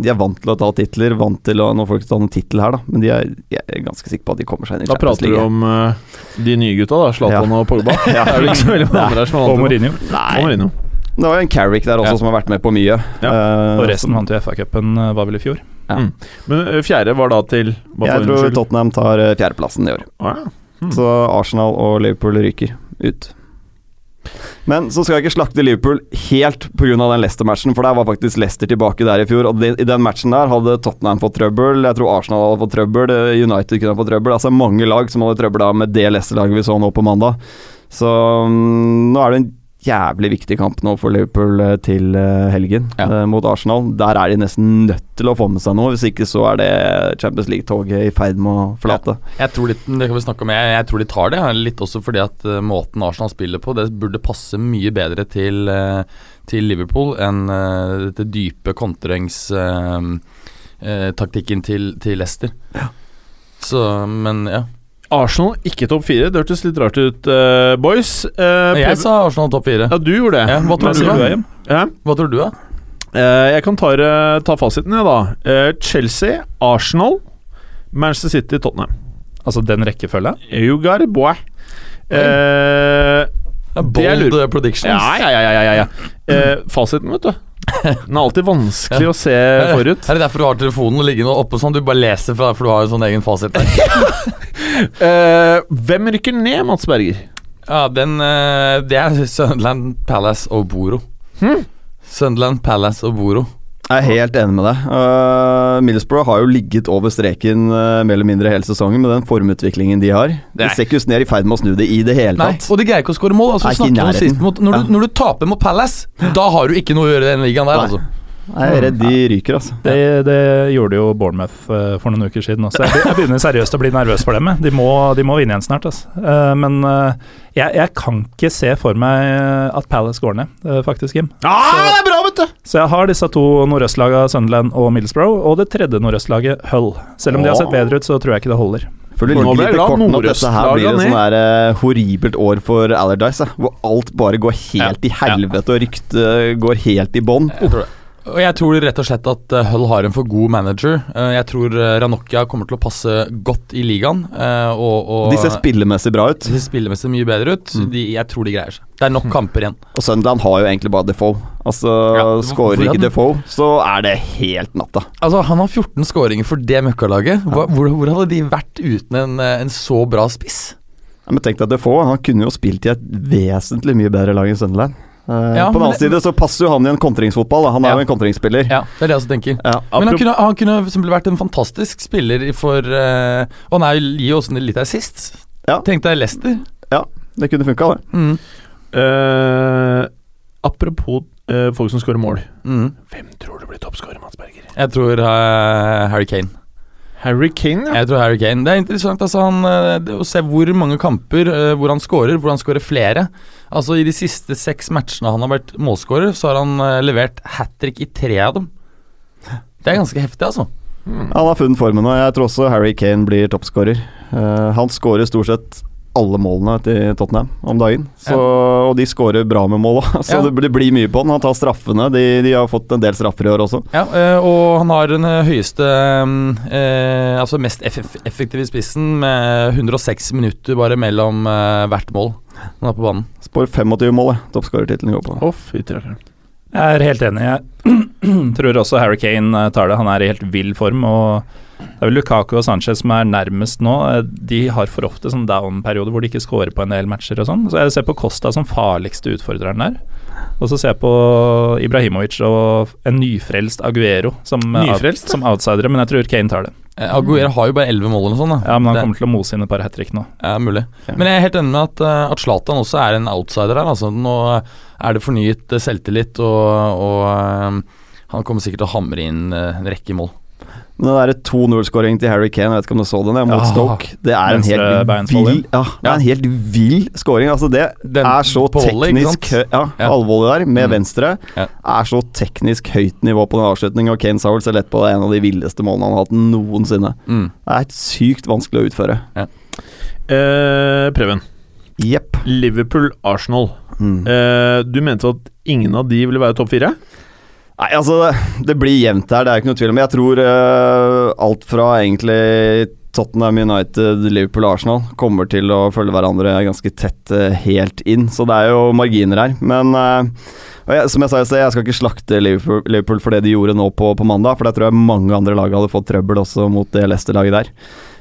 [SPEAKER 6] de er vant til å ta titler, vant til å Nå får de ikke ta noen tittel her, da, men de er, jeg er ganske sikker på at de kommer seg inn i
[SPEAKER 3] Da prater du om eh, de nye gutta, da. Zlatan og Pogba.
[SPEAKER 6] Ja.
[SPEAKER 3] Det er vel ikke så veldig mange andre her som
[SPEAKER 4] Og
[SPEAKER 3] har vant det.
[SPEAKER 4] Mourinho.
[SPEAKER 3] Og Mourinho.
[SPEAKER 6] Det var jo en Carrick der også
[SPEAKER 3] Ja.
[SPEAKER 6] som har vært med på mye.
[SPEAKER 3] Ja,
[SPEAKER 6] Eh,
[SPEAKER 4] Og resten vant jo FA-cupen, eh, var vel i fjor.
[SPEAKER 3] Men eh, fjerde var da til bare
[SPEAKER 6] Jeg
[SPEAKER 3] for
[SPEAKER 6] tror
[SPEAKER 3] unnskyld.
[SPEAKER 6] Tottenham tar eh, fjerdeplassen i år.
[SPEAKER 3] Å, ja. Mm.
[SPEAKER 6] Så Arsenal og Liverpool ryker ut. Men så skal jeg ikke slakte Liverpool helt pga. den Leicester-matchen, for der var faktisk Leicester tilbake der i fjor, og det- i den matchen der hadde Tottenham fått trøbbel, jeg tror Arsenal hadde fått trøbbel, eh, United kunne ha fått trøbbel, altså mange lag som hadde trøbbel da med det Leicester-laget vi så nå på mandag. Så mm, nå er det en jævlig viktig kamp nå for Liverpool eh, til eh, helgen
[SPEAKER 5] Ja.
[SPEAKER 6] eh, mot Arsenal. Der er de nesten nødt til å få med seg noe, hvis ikke så er det Champions League-toget i ferd med å forlate.
[SPEAKER 5] Jeg tror de, det kan vi snakke om, jeg, jeg tror de tar det. Litt også fordi at eh, måten Arsenal spiller på, det burde passe mye bedre til, eh, til Liverpool enn eh, dette dype kontringstaktikken til, til Leicester. Så, men ja.
[SPEAKER 3] Arsenal ikke topp fire. Det hørtes litt rart ut, eh, boys. Eh,
[SPEAKER 5] Jeg
[SPEAKER 3] Peb-
[SPEAKER 5] sa Arsenal topp fire.
[SPEAKER 3] ja, du gjorde det.
[SPEAKER 5] Ja, hva tror
[SPEAKER 3] Men-
[SPEAKER 5] du da?
[SPEAKER 4] E
[SPEAKER 3] Hjem? Ja.
[SPEAKER 5] Hva tror du, da?
[SPEAKER 3] Eh, jeg kan ta, det- ta fasiten, jeg, da. Eh, Chelsea, Arsenal, Manchester City, Tottenham.
[SPEAKER 4] Altså den rekkefølga.
[SPEAKER 3] You got it, boy. Eh, Det jeg
[SPEAKER 5] Bold
[SPEAKER 3] lurer-
[SPEAKER 5] eh, predictions.
[SPEAKER 3] ja, ja, ja, ja, ja, ja. Eh, fasiten, vet du. Den er alltid vanskelig å se forut.
[SPEAKER 5] Eh, Er det derfor du har telefonen liggende oppe sånn? Du bare leser fra for du har jo sånn egen fasit der.
[SPEAKER 3] Eh, hvem rykker ned, Mats Berger?
[SPEAKER 5] Ja, den eh, Det er Sunderland Palace og Boro.
[SPEAKER 3] Hm?
[SPEAKER 5] Sunderland Palace og Boro.
[SPEAKER 6] Jeg er helt enig med deg. Uh, Middlesbrough har jo ligget over streken eh, mer eller mindre hele sesongen med den formutviklingen de har. De
[SPEAKER 5] Nei.
[SPEAKER 6] ser ikke ut som de er i ferd med å snu det i det hele
[SPEAKER 5] Nei,
[SPEAKER 6] tatt.
[SPEAKER 5] og de greier ikke å skåre mål. Altså,
[SPEAKER 6] Er ikke i
[SPEAKER 5] snakker vi om
[SPEAKER 6] nærheten.
[SPEAKER 5] sist mot, når,
[SPEAKER 6] Ja.
[SPEAKER 5] du, når du taper mot Palace, da har du ikke noe å gjøre i den ligaen der,
[SPEAKER 6] Nei.
[SPEAKER 5] altså.
[SPEAKER 6] Jeg er redd de ryker, altså.
[SPEAKER 4] Det, det gjorde jo Bournemouth eh, for noen uker siden også. Jeg be- jeg begynner seriøst å bli nervøs for dem. jeg. De må, de må vinne igjen snart. Altså. Eh, Men eh, jeg, jeg kan ikke se for meg eh, at Palace går ned, eh, faktisk, Jim.
[SPEAKER 3] Ah, det er bra, vet du!
[SPEAKER 4] Så jeg har disse to nordøstlagene, Sunderland og Middlesbrough, og det tredje nordøstlaget, Hull. Selv om de har sett bedre ut, så tror jeg ikke det holder.
[SPEAKER 6] For det
[SPEAKER 3] Nå
[SPEAKER 6] ligger
[SPEAKER 3] ble jeg
[SPEAKER 6] litt i
[SPEAKER 3] glad
[SPEAKER 6] kortene at dette her blir et
[SPEAKER 3] Nordøst-laget
[SPEAKER 6] sånn der, eh, horribelt år for Allardyce. eh, Hvor alt bare går helt i helvete, og ryktet går helt i bånn.
[SPEAKER 5] Jeg tror det. Og jeg tror rett og slett at eh, Hull har en for god manager. Eh, Jeg tror eh, Ranocchia kommer til å passe godt i ligaen. eh, Og, og
[SPEAKER 6] De ser spillemessig bra ut.
[SPEAKER 5] de spiller mest mye bedre ut.
[SPEAKER 6] Mm.
[SPEAKER 5] De, jeg tror de greier seg. Det er nok kamper igjen.
[SPEAKER 6] Og Sunderland har jo egentlig bare Defoe. Altså,
[SPEAKER 5] Ja,
[SPEAKER 6] Skårer
[SPEAKER 5] hvorfor
[SPEAKER 6] ikke
[SPEAKER 5] den?
[SPEAKER 6] Defoe, så er det helt natta.
[SPEAKER 5] Altså, Han har 14 skåringer for det møkkalaget. Hva, hvor, hvor hadde de vært uten en, eh, en så bra spiss?
[SPEAKER 6] Ja, Men tenk deg Defoe, han kunne jo spilt i et vesentlig mye bedre lag enn Sunderland. Eh,
[SPEAKER 5] Ja,
[SPEAKER 6] på den
[SPEAKER 5] men
[SPEAKER 6] annen
[SPEAKER 5] det-
[SPEAKER 6] side så passer jo han i en kontringsfotball. Da. Han er
[SPEAKER 5] Ja.
[SPEAKER 6] jo en kontringsspiller.
[SPEAKER 5] Ja, Det er det jeg også tenker.
[SPEAKER 6] Ja.
[SPEAKER 5] Men han kunne, han kunne for eksempel vært en fantastisk spiller i for eh, Og han er jo gir jo også litt assist.
[SPEAKER 6] Ja.
[SPEAKER 5] Tenk deg Leicester.
[SPEAKER 6] Det kunne funka, det.
[SPEAKER 5] Mm.
[SPEAKER 3] Eh, apropos eh, folk som skårer mål.
[SPEAKER 5] Mm.
[SPEAKER 3] Hvem tror du blir toppskårer, Mats Berger?
[SPEAKER 5] Jeg tror eh, Harry Kane.
[SPEAKER 3] Harry Kane, ja.
[SPEAKER 5] Jeg tror Harry Kane. Det er interessant altså, han, eh, det- å se hvor mange kamper eh, hvor han scorer, hvor han scorer flere. Altså I de siste seks matchene han har vært målscorer, så har han eh, levert hat trick i tre av dem. Det er ganske heftig, altså.
[SPEAKER 3] Hmm.
[SPEAKER 6] Han har funnet formen, og jeg tror også Harry Kane blir toppskårer. Eh, han skårer stort sett alle målene til Tottenham om dagen, så, og de skårer bra med mål òg, så
[SPEAKER 5] Ja.
[SPEAKER 6] det blir- det blir mye på han. Han tar straffene, de, de har fått en del straffer i år også.
[SPEAKER 5] Ja, eh, og han har den eh, høyeste mm, eh, Altså mest eff effektive spissen, med 106 minutter bare mellom eh, hvert mål han er på banen.
[SPEAKER 6] Spår 25 mål, jeg. toppskårertittelen går på.
[SPEAKER 3] Å, fy rakkeren.
[SPEAKER 4] Jeg er helt enig. Jeg tror også Harry Kane eh, tar det. Han er i helt vill form. og Det er vel Lukaku og Sanchez som er nærmest nå. Eh, De har for ofte sånn down-perioder hvor de ikke scorer på en del matcher og sånn. Så jeg ser på Costa som farligste utfordreren der. Og så ser jeg på Ibrahimovic og en nyfrelst Aguero som, eh, out-
[SPEAKER 3] Nyfrelst, ja.
[SPEAKER 4] som outsidere, men jeg tror Kane tar det.
[SPEAKER 5] Eh, Aguero har jo bare 11 mål eller noe sånt. Da.
[SPEAKER 4] Ja, Men han
[SPEAKER 5] Det-
[SPEAKER 4] kommer til å mose inn et par hat trick nå.
[SPEAKER 5] Ja, mulig.
[SPEAKER 6] Ja.
[SPEAKER 5] Men jeg er helt enig med at, eh, at Zlatan også er en outsider her. Altså, nå er det fornyet eh, selvtillit, og, og eh, han kommer sikkert til å hamre inn eh, en rekke mål.
[SPEAKER 6] Den der 2-0-skåringen til Harry Kane, jeg vet ikke om du så den, jeg, mot
[SPEAKER 5] Ja.
[SPEAKER 6] Stoke. Det er en helt
[SPEAKER 4] Venstrebeinsvolley.
[SPEAKER 6] vill, ja, det er en helt vill skåring. Altså det
[SPEAKER 5] Den
[SPEAKER 6] er så
[SPEAKER 5] på volley, ikke
[SPEAKER 6] teknisk
[SPEAKER 5] sant?
[SPEAKER 6] hø- ja,
[SPEAKER 5] Ja.
[SPEAKER 6] alvorlig der, med
[SPEAKER 5] Mm.
[SPEAKER 6] venstre.
[SPEAKER 5] Ja.
[SPEAKER 6] Er så teknisk høyt nivå på den avslutningen, og Kane Sowell ser lett på det. En av de villeste målene han har hatt noensinne. Det er sykt vanskelig å utføre.
[SPEAKER 3] Eh, Preben.
[SPEAKER 6] Jepp.
[SPEAKER 3] Liverpool-Arsenal.
[SPEAKER 6] Mm.
[SPEAKER 3] Eh, du mente at ingen av de ville være topp fire?
[SPEAKER 6] Nei, altså, det- det blir jevnt her, det er ikke noe tvil om. Jeg tror eh, alt fra egentlig Tottenham United, Liverpool og Arsenal kommer til å følge hverandre ganske tett eh, helt inn, så det er jo marginer her. Men eh, og jeg, som jeg sa i sted, jeg skal ikke slakte Liverpool, Liverpool for det de gjorde nå på, på mandag, for der tror jeg mange andre lag hadde fått trøbbel også mot det Leicester-laget der.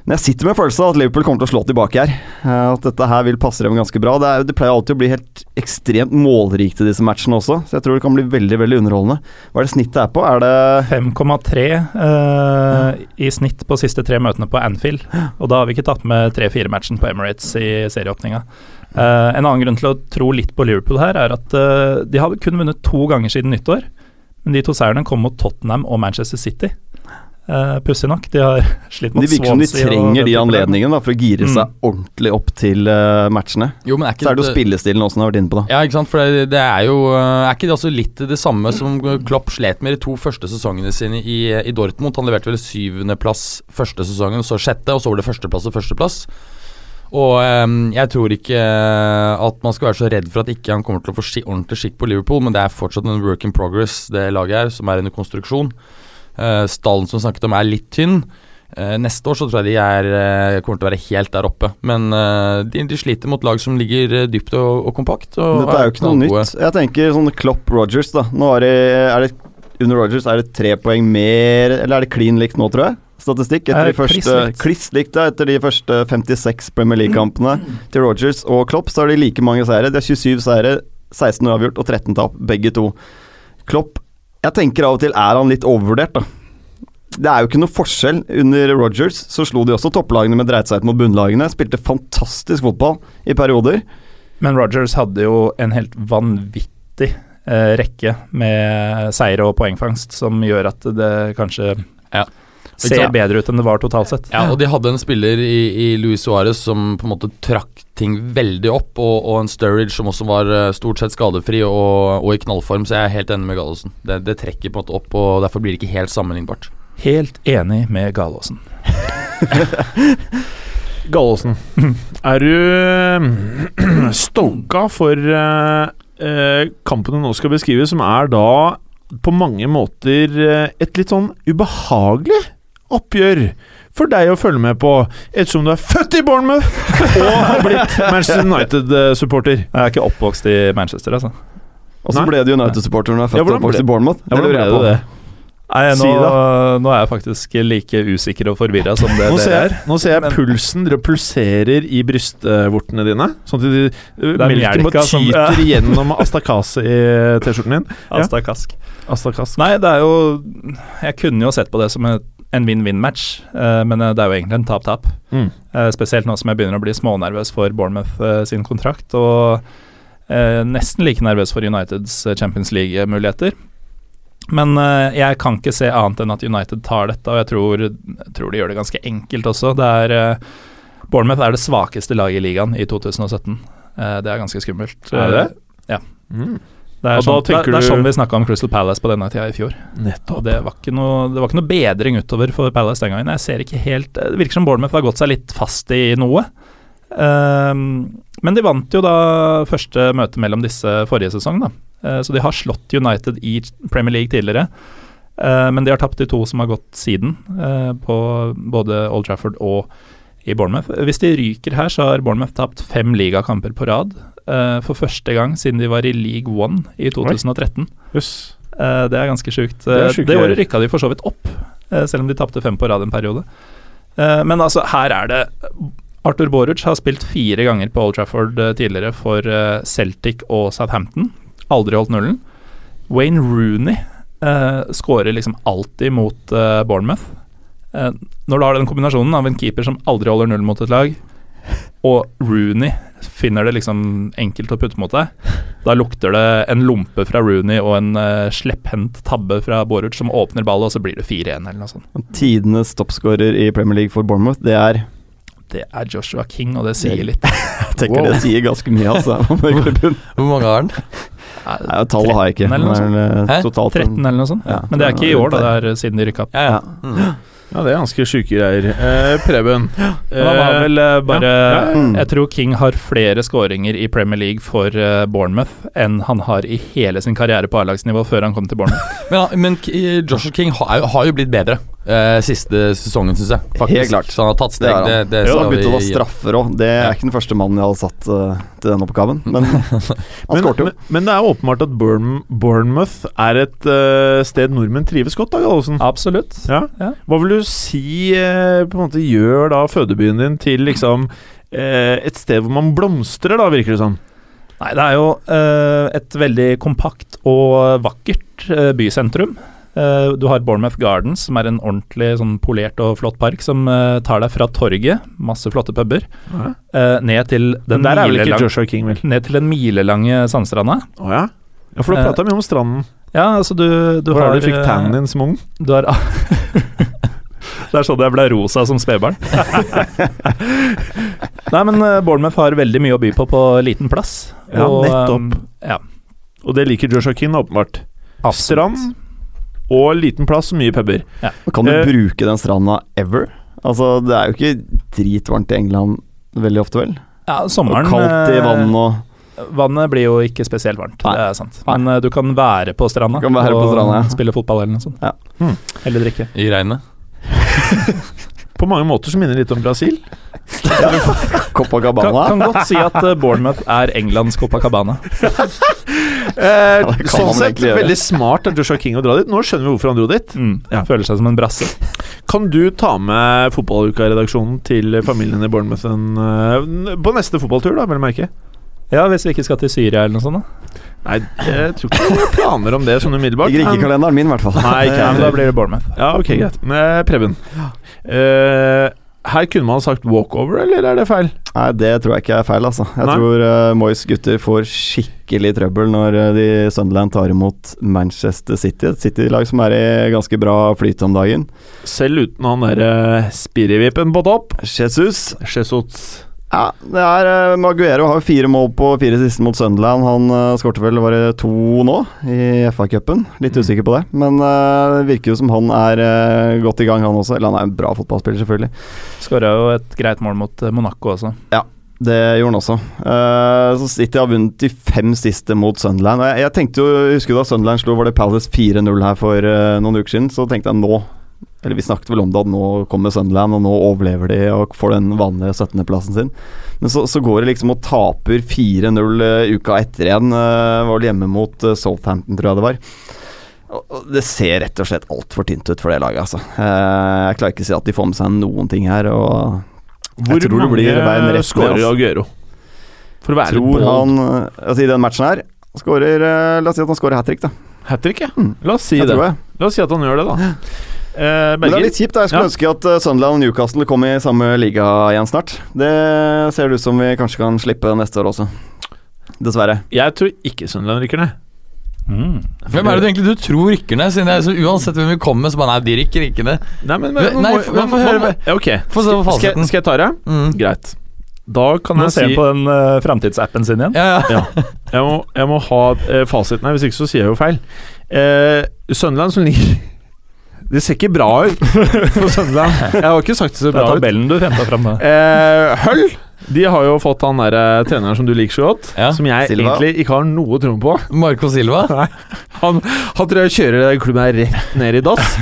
[SPEAKER 6] Men jeg sitter med følelsen av at Liverpool kommer til å slå tilbake her. eh, At dette her vil passe dem ganske bra. Det, er, det pleier alltid å bli helt ekstremt målrikt i disse matchene også, så jeg tror det kan bli veldig veldig underholdende. Hva er det snittet er på? Er det
[SPEAKER 4] 5,3 eh, i snitt på siste tre møtene på Anfield. Og da har vi ikke tatt med 3-4-matchen på Emirates i serieåpninga. Eh, en annen grunn til å tro litt på Liverpool her, er at eh, de har kun vunnet to ganger siden nyttår. Men de to seierne kom mot Tottenham og Manchester City. Eh, Pussig nok, de har slitt mot
[SPEAKER 6] De virker som de
[SPEAKER 4] Swansea og
[SPEAKER 6] trenger
[SPEAKER 4] den
[SPEAKER 6] de
[SPEAKER 4] type lag.
[SPEAKER 6] anledningene da, for å gire
[SPEAKER 4] Mm.
[SPEAKER 6] seg ordentlig opp til eh, matchene.
[SPEAKER 5] Jo, men er
[SPEAKER 6] Så
[SPEAKER 5] ikke
[SPEAKER 6] er det jo
[SPEAKER 5] dette-
[SPEAKER 6] spillestilen også, som jeg har vært inne på. da
[SPEAKER 5] Ja, ikke sant, for det, det er jo eh, Er ikke det altså litt det samme som Klopp slet med de to første sesongene sine i, i Dortmund? Han leverte vel syvendeplass første sesongen, så sjette, og så var det førsteplass og førsteplass. Og eh, jeg tror ikke eh, at man skal være så redd for at ikke han kommer til å få ski, ordentlig skikk på Liverpool, men det er fortsatt en work in progress, det laget her, som er under konstruksjon. Eh, stallen som snakket om, er litt tynn. Eh, neste år så tror jeg de er, eh, kommer til å være helt der oppe. Men eh, de, de sliter mot lag som ligger eh, dypt og, og kompakt. Og
[SPEAKER 6] Dette er jo ikke noe
[SPEAKER 5] knallgode.
[SPEAKER 6] nytt. Jeg tenker sånn Klopp Rogers, da. Nå er det, er det under Rogers er det tre poeng mer Eller er det klin likt nå, tror jeg? Statistikk etter
[SPEAKER 4] Eh,
[SPEAKER 6] de første
[SPEAKER 4] kliss likt.
[SPEAKER 6] Kliss likt da, etter de første 56 Premier League-kampene til Rogers og Klopp, så har de like mange seire. De har 27 seire, 16 uavgjort og 13 tap, begge to. Klopp Jeg tenker av og til er han litt overvurdert, da. Det er jo ikke noe forskjell. Under Rogers så slo de også topplagene, men dreit seg ut mot bunnlagene. Spilte fantastisk fotball i perioder.
[SPEAKER 4] Men Rogers hadde jo en helt vanvittig eh, eh, rekke med seire og poengfangst som gjør at det kanskje
[SPEAKER 5] Ja.
[SPEAKER 4] ser bedre ut enn det var totalt sett.
[SPEAKER 5] Ja, og de hadde en spiller i, i Luis Suárez som på en måte trakk ting veldig opp, og, og en Sturridge som også var eh, stort sett skadefri og, og i knallform, så jeg er helt enig med Gallosen. Det, det trekker på en måte opp, og derfor blir det ikke helt sammenlignbart.
[SPEAKER 4] Helt enig med Galåsen.
[SPEAKER 3] Gallosen, er du stoka for eh, eh, kampen du nå skal beskrive, som er da på mange måter eh, et litt sånn ubehagelig oppgjør for deg å følge med på, ettersom du er født i Bournemouth og har blitt Manchester United-supporter?
[SPEAKER 4] Jeg er ikke oppvokst i Manchester, altså.
[SPEAKER 6] Og så
[SPEAKER 3] Nei.
[SPEAKER 6] ble det United-supporter når jeg er
[SPEAKER 3] Ja,
[SPEAKER 6] født og
[SPEAKER 3] hvordan
[SPEAKER 6] oppvokst
[SPEAKER 3] ble-
[SPEAKER 6] i Bournemouth.
[SPEAKER 3] Ja, hvordan
[SPEAKER 6] lurer jeg
[SPEAKER 3] ble
[SPEAKER 6] på.
[SPEAKER 3] det?
[SPEAKER 4] Nei,
[SPEAKER 3] Si
[SPEAKER 4] nå, nå er jeg faktisk like usikker og forvirra som det
[SPEAKER 3] Nå ser,
[SPEAKER 4] dere er.
[SPEAKER 3] jeg, nå ser jeg
[SPEAKER 4] Men-
[SPEAKER 3] pulsen Dere pulserer i brystvortene dine. Sånn at de,
[SPEAKER 4] er
[SPEAKER 3] melken
[SPEAKER 4] melka
[SPEAKER 3] bare
[SPEAKER 4] som-
[SPEAKER 3] tyter gjennom astakaset i T-skjorten din. Ja.
[SPEAKER 4] Asta Kask.
[SPEAKER 3] Astakas.
[SPEAKER 4] Nei, det er jo Jeg kunne jo sett på det som et- en vinn-vinn-match, eh, men eh, det er jo egentlig en tap-tap.
[SPEAKER 3] Mm.
[SPEAKER 4] Eh, Spesielt nå som jeg begynner å bli smånervøs for Bournemouth eh, sin kontrakt, og eh, nesten like nervøs for Uniteds eh, Champions League-muligheter. Men eh, jeg kan ikke se annet enn at United tar dette, og jeg tror, jeg tror de gjør det ganske enkelt også. Det er eh, Bournemouth er det svakeste laget i ligaen i 2017. Eh, Det er ganske skummelt.
[SPEAKER 3] Er det?
[SPEAKER 4] Ja.
[SPEAKER 3] Mm.
[SPEAKER 4] Det er,
[SPEAKER 3] Og da
[SPEAKER 4] sånn, det,
[SPEAKER 3] tenker
[SPEAKER 4] er- det er
[SPEAKER 3] du-
[SPEAKER 4] sånn vi snakka om Crystal Palace på denne tida i fjor. Og
[SPEAKER 3] Nettopp.
[SPEAKER 4] det var, ikke noe, det var ikke noe bedring utover for Palace den gangen. Jeg ser ikke helt Det virker som Bournemouth har gått seg litt fast i noe. Ehm, men de vant jo da første møte mellom disse forrige sesong, da. Eh, så de har slått United i Premier League tidligere. Eh, men de har tapt de to som har gått siden, eh, på både Old Trafford og i Bournemouth. Hvis de ryker her, så har Bournemouth tapt fem ligakamper på rad. eh, for første gang siden de var i League One i 2013.
[SPEAKER 3] Jøss.
[SPEAKER 4] Eh, det er ganske sjukt.
[SPEAKER 3] er
[SPEAKER 4] Eh,
[SPEAKER 3] sjuke
[SPEAKER 4] Det, året
[SPEAKER 3] greier.
[SPEAKER 4] rykka de for så vidt opp, eh, selv om de tapte fem på rad en periode. Eh, Men altså, her er det Arthur Boruch har spilt fire ganger på Old Trafford eh, tidligere for eh, Celtic og Southampton. Aldri holdt nullen. Wayne Rooney eh, skårer liksom alltid mot eh, Bournemouth. Eh, når du har den kombinasjonen av en keeper som aldri holder null mot et lag, og Rooney finner det liksom enkelt å putte mot deg, da lukter det en lompe fra Rooney og en uh, slepphendt tabbe fra Boruch som åpner ballet, og så blir det 4-1 eller noe sånt.
[SPEAKER 6] Tidenes toppskårer i Premier League for Bournemouth, det er
[SPEAKER 4] Det er Joshua King, og det sier litt.
[SPEAKER 6] Jeg tenker det sier ganske mye, altså. om klubben.
[SPEAKER 5] Hvor mange har den?
[SPEAKER 6] Nei, tallet har jeg ikke.
[SPEAKER 4] 13 eller noe
[SPEAKER 6] men, eh,
[SPEAKER 5] Hæ?
[SPEAKER 6] totalt en-
[SPEAKER 4] 13 eller noe sånt.
[SPEAKER 6] Ja.
[SPEAKER 4] Men det er ikke i år, da. Det er eh, siden de rykka opp.
[SPEAKER 5] Ja, ja.
[SPEAKER 3] Ja, det er ganske sjuke greier. Eh, Preben.
[SPEAKER 4] Men han har vel eh, bare
[SPEAKER 3] Ja.
[SPEAKER 6] Mm.
[SPEAKER 4] Jeg tror King har flere skåringer i Premier League for eh, Bournemouth enn han har i hele sin karriere på A-lagsnivå før han kom til Bournemouth.
[SPEAKER 5] Men, han- men K- eh, Joshua King har, jo- har jo blitt bedre eh, siste sesongen, syns jeg. Faktisk.
[SPEAKER 6] Helt klart.
[SPEAKER 5] Så han har tatt
[SPEAKER 6] Det
[SPEAKER 5] steg.
[SPEAKER 6] har
[SPEAKER 5] Det,
[SPEAKER 6] han.
[SPEAKER 5] det,
[SPEAKER 6] Så
[SPEAKER 5] skal
[SPEAKER 6] han
[SPEAKER 5] vi
[SPEAKER 6] begynte å ta
[SPEAKER 5] gi-
[SPEAKER 6] straffer òg. Det er ikke den første mannen jeg hadde satt eh, til den oppgaven. Men han
[SPEAKER 3] Men,
[SPEAKER 6] skårte jo.
[SPEAKER 3] men, men det er åpenbart at Bourne, Bournemouth er et eh, sted nordmenn trives godt, da, Gallosen.
[SPEAKER 4] Absolutt.
[SPEAKER 3] Ja.
[SPEAKER 4] Ja.
[SPEAKER 3] Hva vil du si eh, på en måte gjør da fødebyen din til liksom eh, et sted hvor man blomstrer, da, virker det som?
[SPEAKER 4] Nei, det er jo eh, et veldig kompakt og vakkert eh, bysentrum. Eh, du har Bournemouth Gardens, som er en ordentlig sånn polert og flott park, som eh, tar deg fra torget, masse flotte puber,
[SPEAKER 3] Ja.
[SPEAKER 4] eh, ned til den
[SPEAKER 3] Den der er vel ikke
[SPEAKER 4] milelang-
[SPEAKER 3] Joshua King, vel?
[SPEAKER 4] ned til den milelange sandstranda.
[SPEAKER 3] Å ja? Ja, for da
[SPEAKER 4] Eh,
[SPEAKER 3] prata vi om stranden.
[SPEAKER 4] Ja, altså du, du
[SPEAKER 3] Hvor
[SPEAKER 4] har
[SPEAKER 3] er det du fikk
[SPEAKER 4] eh,
[SPEAKER 3] tannen din som ung?
[SPEAKER 4] Du har Det er sånn jeg ble rosa som spedbarn. Nei, men eh, Bournemouth har veldig mye å by på på liten plass.
[SPEAKER 3] Ja, nettopp.
[SPEAKER 4] eh, ja,
[SPEAKER 3] Og det liker Joshua King, åpenbart. Strand og liten plass og mye puber.
[SPEAKER 6] Kan du
[SPEAKER 3] Eh,
[SPEAKER 6] bruke den stranda ever? Altså, det er jo ikke dritvarmt i England veldig ofte, vel?
[SPEAKER 4] Ja,
[SPEAKER 6] Og
[SPEAKER 4] sommeren
[SPEAKER 6] kaldt i
[SPEAKER 4] eh,
[SPEAKER 6] vann og
[SPEAKER 4] Vannet blir jo ikke spesielt varmt,
[SPEAKER 6] Nei.
[SPEAKER 4] det er sant. Men eh, du kan være på stranda
[SPEAKER 6] Du kan være på stranda, ja.
[SPEAKER 4] spille fotball eller noe sånt.
[SPEAKER 6] Ja.
[SPEAKER 3] Hmm.
[SPEAKER 4] Eller drikke.
[SPEAKER 5] I regnet.
[SPEAKER 3] På mange måter så minner det litt om Brasil.
[SPEAKER 4] Kan,
[SPEAKER 6] Copacabana.
[SPEAKER 4] kan godt si at eh, Bournemouth er Englands Copacabana.
[SPEAKER 3] Eh,
[SPEAKER 6] det kan
[SPEAKER 3] sånn
[SPEAKER 6] man
[SPEAKER 3] sett,
[SPEAKER 6] egentlig gjøre.
[SPEAKER 3] veldig smart av Joshua King å dra dit. Nå skjønner vi hvorfor han dro dit.
[SPEAKER 4] Mm.
[SPEAKER 3] Ja.
[SPEAKER 4] Føler seg som en brasse.
[SPEAKER 3] Kan du ta med fotballuka-redaksjonen til familien i Bournemouth en, eh, på neste fotballtur, da, vel å merke?
[SPEAKER 4] Ja, hvis vi ikke skal til Syria eller noe sånt, da.
[SPEAKER 3] Nei, jeg tror ikke det er planer om det sånn umiddelbart.
[SPEAKER 6] Ligger ikke i
[SPEAKER 3] men-
[SPEAKER 6] kalenderen min, i hvert fall.
[SPEAKER 3] Nei, ikke
[SPEAKER 4] Nei, men
[SPEAKER 3] heller.
[SPEAKER 4] da blir det Bournemouth.
[SPEAKER 3] Ja, ok, greit. Men, eh, Preben. Eh, her kunne man sagt walkover, eller er det feil?
[SPEAKER 6] Nei, det tror jeg ikke er feil, altså. Jeg
[SPEAKER 3] Nei.
[SPEAKER 6] tror uh, Moyes gutter får skikkelig trøbbel når eh, de Sunderland tar imot Manchester City. Et City-lag som er i ganske bra flyt om dagen.
[SPEAKER 3] Selv uten han derre spirrevippen på topp.
[SPEAKER 6] Jesus
[SPEAKER 3] Jesus.
[SPEAKER 6] Ja, det er eh, Maguero har jo fire mål på fire siste mot Sunderland. Han uh, skårte vel bare to nå i FA-cupen. Litt usikker på det, men eh, det virker jo som han er eh, godt i gang, han også. Eller han er en bra fotballspiller, selvfølgelig.
[SPEAKER 4] Skåra jo et greit mål mot eh, Monaco også.
[SPEAKER 6] Det gjorde han også. Eh, så City har vunnet de fem siste mot Sunderland. Og Jeg, jeg tenkte jo, jeg husker da Sunderland slo var det Palace 4-0 her for eh, noen uker siden, så tenkte jeg nå Eller vi snakket vel om det, at nå kommer Sunderland, og nå overlever de og får den vanlige 17.-plassen sin. Men så, så går det liksom og taper 4-0 eh, uka etter igjen. eh, var vel hjemme mot eh, Southampton, tror jeg det var. Og- og Det ser rett og slett altfor tynt ut for det laget, altså. Eh, jeg klarer ikke å si at de får med seg noen ting her, og
[SPEAKER 3] Hvor
[SPEAKER 6] tror det
[SPEAKER 3] mange
[SPEAKER 6] blir veien rett ned,
[SPEAKER 3] skårer
[SPEAKER 6] altså.
[SPEAKER 3] Aguero? For å være
[SPEAKER 6] tror
[SPEAKER 3] bold.
[SPEAKER 6] han eh, altså I den matchen her skårer eh, La oss si at han skårer hat trick, da.
[SPEAKER 3] Hat trick, ja.
[SPEAKER 6] Mm.
[SPEAKER 3] La oss si
[SPEAKER 6] Jeg
[SPEAKER 3] det.
[SPEAKER 6] tror jeg.
[SPEAKER 3] La oss si at han gjør det, da. Eh,
[SPEAKER 6] Men det er
[SPEAKER 3] Berger,
[SPEAKER 6] litt kjipt. da. Jeg skulle
[SPEAKER 3] Ja.
[SPEAKER 6] ønske at eh, Sunderland og Newcastle kom i samme liga igjen snart. Det ser det ut som vi kanskje kan slippe neste år også. Dessverre.
[SPEAKER 3] jeg tror ikke Sunderland rykker ned. Hmm.
[SPEAKER 5] Hvem er det du egentlig du tror rykker ned? Siden det er så Uansett hvem vi kommer med, så bare nei, de rykker ikke ned.
[SPEAKER 3] Nei, men,
[SPEAKER 5] Nei,
[SPEAKER 3] man må-
[SPEAKER 5] få-
[SPEAKER 3] man
[SPEAKER 5] få
[SPEAKER 3] må-
[SPEAKER 5] høre-
[SPEAKER 3] man må- Ja, Ok,
[SPEAKER 5] Få se på
[SPEAKER 3] skal, jeg-
[SPEAKER 5] fasiten.
[SPEAKER 3] skal jeg ta det?
[SPEAKER 5] Mm.
[SPEAKER 3] Greit. Da kan
[SPEAKER 4] Nå
[SPEAKER 3] jeg
[SPEAKER 4] ser
[SPEAKER 3] si
[SPEAKER 4] vi på den uh, framtidsappen sin igjen.
[SPEAKER 5] Ja, ja.
[SPEAKER 3] jeg må, jeg må ha eh, fasiten her, hvis ikke så sier jeg jo feil. Eh, Sunderland som ligger Det ser ikke bra ut for Sunderland. Jeg har ikke sagt det ser
[SPEAKER 4] Det er
[SPEAKER 3] bra ut.
[SPEAKER 4] tabellen du henta fram. da.
[SPEAKER 3] Eh, Hull de har jo fått han der, eh, treneren som du liker så godt,
[SPEAKER 5] Ja,
[SPEAKER 3] som jeg
[SPEAKER 6] Silva.
[SPEAKER 3] egentlig ikke har noe tro på.
[SPEAKER 5] Marco Silva.
[SPEAKER 3] Han, han tror jeg kjører den klubben her rett ned i dass.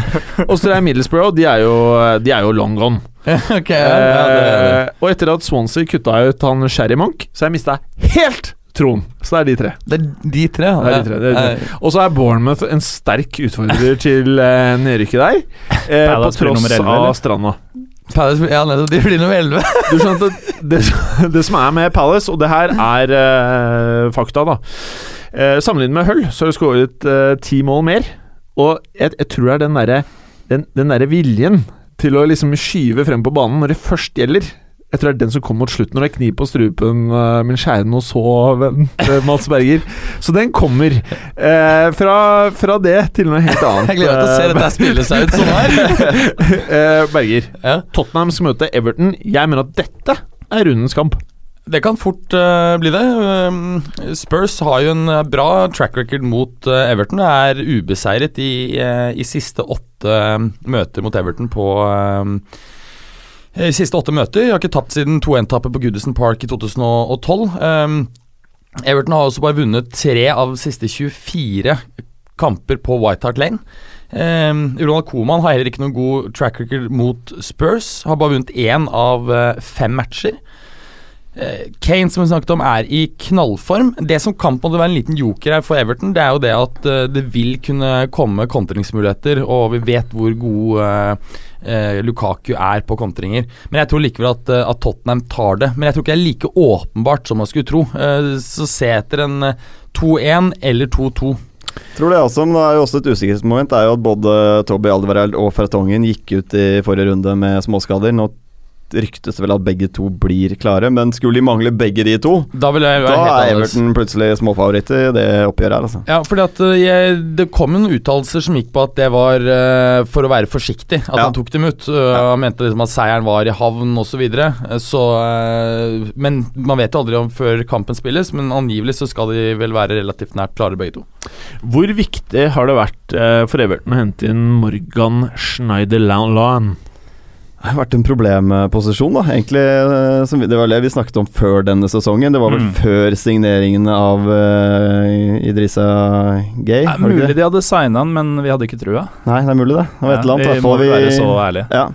[SPEAKER 3] Og så er det Middlesbrough, de er jo, de er jo long gone.
[SPEAKER 5] ok, ja, ja, det, det.
[SPEAKER 3] Eh, og etter at Swansea kutta ut han Sherry Monk, så har jeg mista helt troen. Så det er de tre.
[SPEAKER 5] det er de tre. ja.
[SPEAKER 3] Det er de tre, det er de
[SPEAKER 5] Eh,
[SPEAKER 3] Og så er Bournemouth en sterk utfordrer til eh, nedrykket der. Eh, på
[SPEAKER 4] Palace blir
[SPEAKER 3] tross
[SPEAKER 4] nummer 11, eller?
[SPEAKER 3] av Stranda.
[SPEAKER 5] Palace, Eh, ja, nettopp. De blir nummer elleve.
[SPEAKER 3] Du skjønte, det, det som er med Palace, og det her er eh, fakta, da eh, Sammenlignet med Hull, så har de skåret eh, ti mål mer. Og jeg, jeg tror det er den derre den, den derre viljen til å liksom skyve frem på banen når det først gjelder. Jeg tror det er den som kom mot slutten, når det er kniv på strupen, eh, min kjære og så venn eh, Mats Berger. Så den kommer. Eh, fra, fra det til noe helt annet.
[SPEAKER 5] Jeg gleder meg til å se
[SPEAKER 3] eh,
[SPEAKER 5] dette spille seg ut sånn her.
[SPEAKER 3] eh, Berger.
[SPEAKER 5] Ja.
[SPEAKER 3] Tottenham skal møte Everton. Jeg mener at dette er rundens kamp.
[SPEAKER 5] Det kan fort eh, bli det. Um, Spurs har jo en eh, bra track record mot eh, Everton. Er ubeseiret i, eh, i siste åtte eh, møter mot Everton på eh, i siste åtte møter. De har ikke tapt siden 2-1-tapet på Goodison Park i 2012. Um, Everton har også bare vunnet tre av siste 24 kamper på White Hart Lane. Um, Ronald Koeman har heller ikke noen god track record mot Spurs. Har bare vunnet én av eh, fem matcher. Eh, Kane, som vi snakket om, er i knallform. Det som kan på en måte være en liten joker her for Everton, det er jo det at eh, det vil kunne komme kontringsmuligheter, og vi vet hvor god eh, eh, Lukaku er på kontringer. Men jeg tror likevel at, eh, at Tottenham tar det. Men jeg tror ikke det er like åpenbart som man skulle tro. Eh, så se etter en eh, 2-1 eller 2-2.
[SPEAKER 6] Tror det også, men det er jo også et usikkerhetsmoment. Det er jo at både Toby Alderweireld og Fertongen gikk ut i forrige runde med småskader. Nå ryktes det vel at begge to blir klare, men skulle de mangle begge de to,
[SPEAKER 5] Da vil jeg
[SPEAKER 6] da
[SPEAKER 5] være helt
[SPEAKER 6] er
[SPEAKER 5] annerledes.
[SPEAKER 6] Everton plutselig småfavoritter i det oppgjøret her, altså.
[SPEAKER 5] Ja, fordi at eh, jeg, Det kom en uttalelse som gikk på at det var eh, for å være forsiktig. At
[SPEAKER 6] Ja.
[SPEAKER 5] han tok dem ut. Eh, Han mente liksom at seieren var i havn osv. Så videre. Eh, så, eh, men man vet jo aldri om før kampen spilles, men angivelig så skal de vel være relativt nært klare, begge to.
[SPEAKER 3] Hvor viktig har det vært eh, for Everton å hente inn Morgan Schneiderland?
[SPEAKER 6] Det har vært en problemposisjon, da. Egentlig, eh, som vi, det var det vi snakket om før denne sesongen. Det var vel
[SPEAKER 4] Mm.
[SPEAKER 6] før signeringene av eh, Idrissa Gay.
[SPEAKER 4] Det er
[SPEAKER 6] var det
[SPEAKER 4] mulig
[SPEAKER 6] ikke det?
[SPEAKER 4] de hadde signa den, men vi hadde ikke trua.
[SPEAKER 6] Nei, det er mulig, det. Det var et eller annet. i
[SPEAKER 4] vi
[SPEAKER 6] hvert
[SPEAKER 4] må
[SPEAKER 6] fall
[SPEAKER 4] være så
[SPEAKER 6] vi,
[SPEAKER 4] ærlige.
[SPEAKER 6] ja.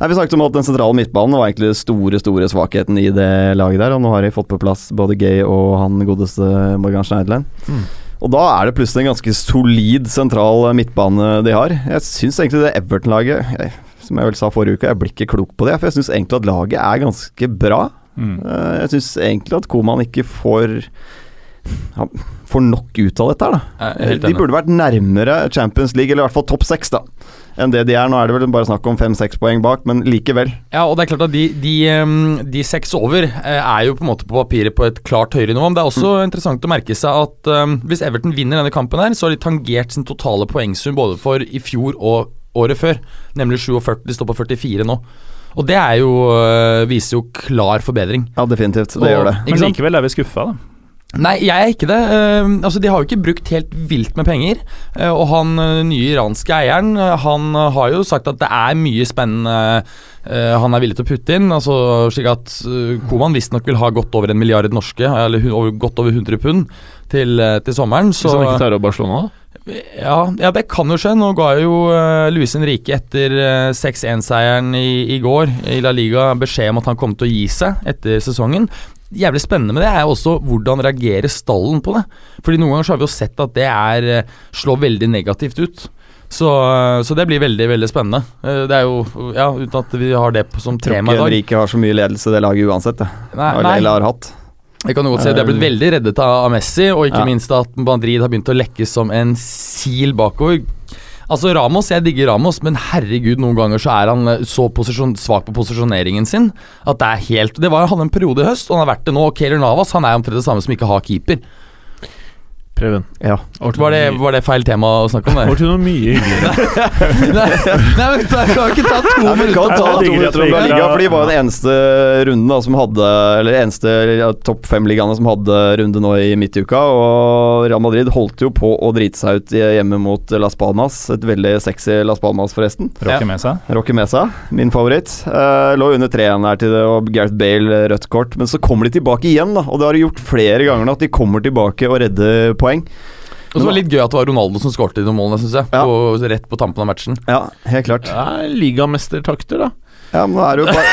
[SPEAKER 6] Nei, vi snakket om at den sentrale midtbanen var egentlig den store store svakheten i det laget der. Og nå har de fått på plass både Gay og han godeste Morgan Schneiderland.
[SPEAKER 3] Mm.
[SPEAKER 6] Og da er det plutselig en ganske solid sentral midtbane de har. Jeg syns egentlig det Everton-laget jeg- som jeg vel sa forrige uke, jeg blir ikke klok på det. For jeg syns egentlig at laget er ganske bra.
[SPEAKER 4] Mm.
[SPEAKER 6] Eh, Jeg syns egentlig at Koman ikke får ja, får nok ut av dette her, da.
[SPEAKER 5] Jeg er Eh, helt
[SPEAKER 6] Eh, De
[SPEAKER 5] enig.
[SPEAKER 6] burde vært nærmere Champions League, eller i hvert fall topp seks, da, enn det de er. Nå er det vel bare snakk om fem-seks poeng bak, men likevel.
[SPEAKER 5] Ja, og det er klart at de, de, ehm, de seks over eh, er jo på en måte på papiret på et klart høyere nivå. Men det er også
[SPEAKER 6] Mm.
[SPEAKER 5] interessant å merke seg at ehm, hvis Everton vinner denne kampen, her, så har de tangert sin totale poengsum både for i fjor og året før. Nemlig 47. De står på 44 nå. Og det er jo, eh, viser jo klar forbedring.
[SPEAKER 6] Ja, definitivt. Det
[SPEAKER 5] Og-
[SPEAKER 6] gjør det.
[SPEAKER 5] Ikke
[SPEAKER 4] Men
[SPEAKER 5] sant?
[SPEAKER 4] likevel er vi skuffa, da.
[SPEAKER 5] Nei, jeg er ikke det. Ehm, altså, De har jo ikke brukt helt vilt med penger. Eh, og han eh, nye iranske eieren eh, Han eh, har jo sagt at det er mye spennende eh, han er villig til å putte inn. Altså, slik at uh, Koman visstnok vil ha godt over en milliard norske, eller hu- over, godt over 100 pund, til, eh, til sommeren. Så
[SPEAKER 3] Hvis han ikke tar opp Barcelona, da?
[SPEAKER 5] ja, ja, det kan jo skje. Nå ga jo uh, Luis Henrique etter eh, 6-1-seieren i, i går i La Liga beskjed om at han kom til å gi seg etter sesongen. Jævlig spennende med det er jo også hvordan reagerer stallen på det. Fordi noen ganger så har vi jo sett at det er eh, slår veldig negativt ut. Så, eh, så det blir veldig, veldig spennende. Eh, Det er jo Ja, uten at vi har det på- som
[SPEAKER 6] Tror
[SPEAKER 5] tema
[SPEAKER 6] ikke
[SPEAKER 5] i dag.
[SPEAKER 6] Henrike har så mye ledelse i det laget uansett, det.
[SPEAKER 5] Nei,
[SPEAKER 6] Eller,
[SPEAKER 5] nei,
[SPEAKER 6] eller har hatt.
[SPEAKER 5] jeg kan jo godt si at De er blitt
[SPEAKER 6] Um,
[SPEAKER 5] veldig reddet av av Messi, og ikke
[SPEAKER 6] ja.
[SPEAKER 5] minst at Madrid har begynt å lekke som en sil bakover. Altså Ramos, Jeg digger Ramos, men herregud, noen ganger så er han eh, så posisjon, svak på posisjoneringen sin at det er helt Det var han en periode i høst, og han har vært det nå. Og Keylor Navas han er omtrent det samme som ikke har keeper.
[SPEAKER 3] Preben.
[SPEAKER 6] Ja.
[SPEAKER 3] Over til
[SPEAKER 5] Var det,
[SPEAKER 3] noe mye-
[SPEAKER 5] var det feil tema å snakke om?
[SPEAKER 3] over
[SPEAKER 5] Det?
[SPEAKER 3] til noe mye hyggeligere.
[SPEAKER 5] nei, nei, men da kan vi ikke ta to
[SPEAKER 6] Nei, men vi kan
[SPEAKER 5] minutter.
[SPEAKER 6] ta
[SPEAKER 3] Jeg
[SPEAKER 6] to
[SPEAKER 3] digger at
[SPEAKER 6] minutter om
[SPEAKER 3] vi
[SPEAKER 6] La
[SPEAKER 3] ikke
[SPEAKER 6] Liga,
[SPEAKER 3] har-
[SPEAKER 6] for de var jo den eneste runden da, som hadde Eller eneste ja, topp fem-ligaene som hadde runde nå i midtuka. Og Real Madrid holdt jo på å drite seg ut i- hjemme mot Las Palmas. Et veldig sexy Las Palmas, forresten.
[SPEAKER 5] Ja.
[SPEAKER 4] Råker med seg.
[SPEAKER 6] Rocky Mesa, min favoritt. Eh, lå under 3-1 her til det, og Gareth Bale eh, rødt kort. Men så kommer de tilbake igjen, da. Og det har de gjort flere ganger nå, at de kommer tilbake og redder poeng.
[SPEAKER 5] Og så var det litt gøy at det var Ronaldo som skåret i de målene, syns jeg.
[SPEAKER 6] Ja.
[SPEAKER 5] På, rett på tampen av matchen.
[SPEAKER 6] Ja, helt klart.
[SPEAKER 3] Ja, Ligamestertakter, da.
[SPEAKER 6] Ja, men nå er det jo bare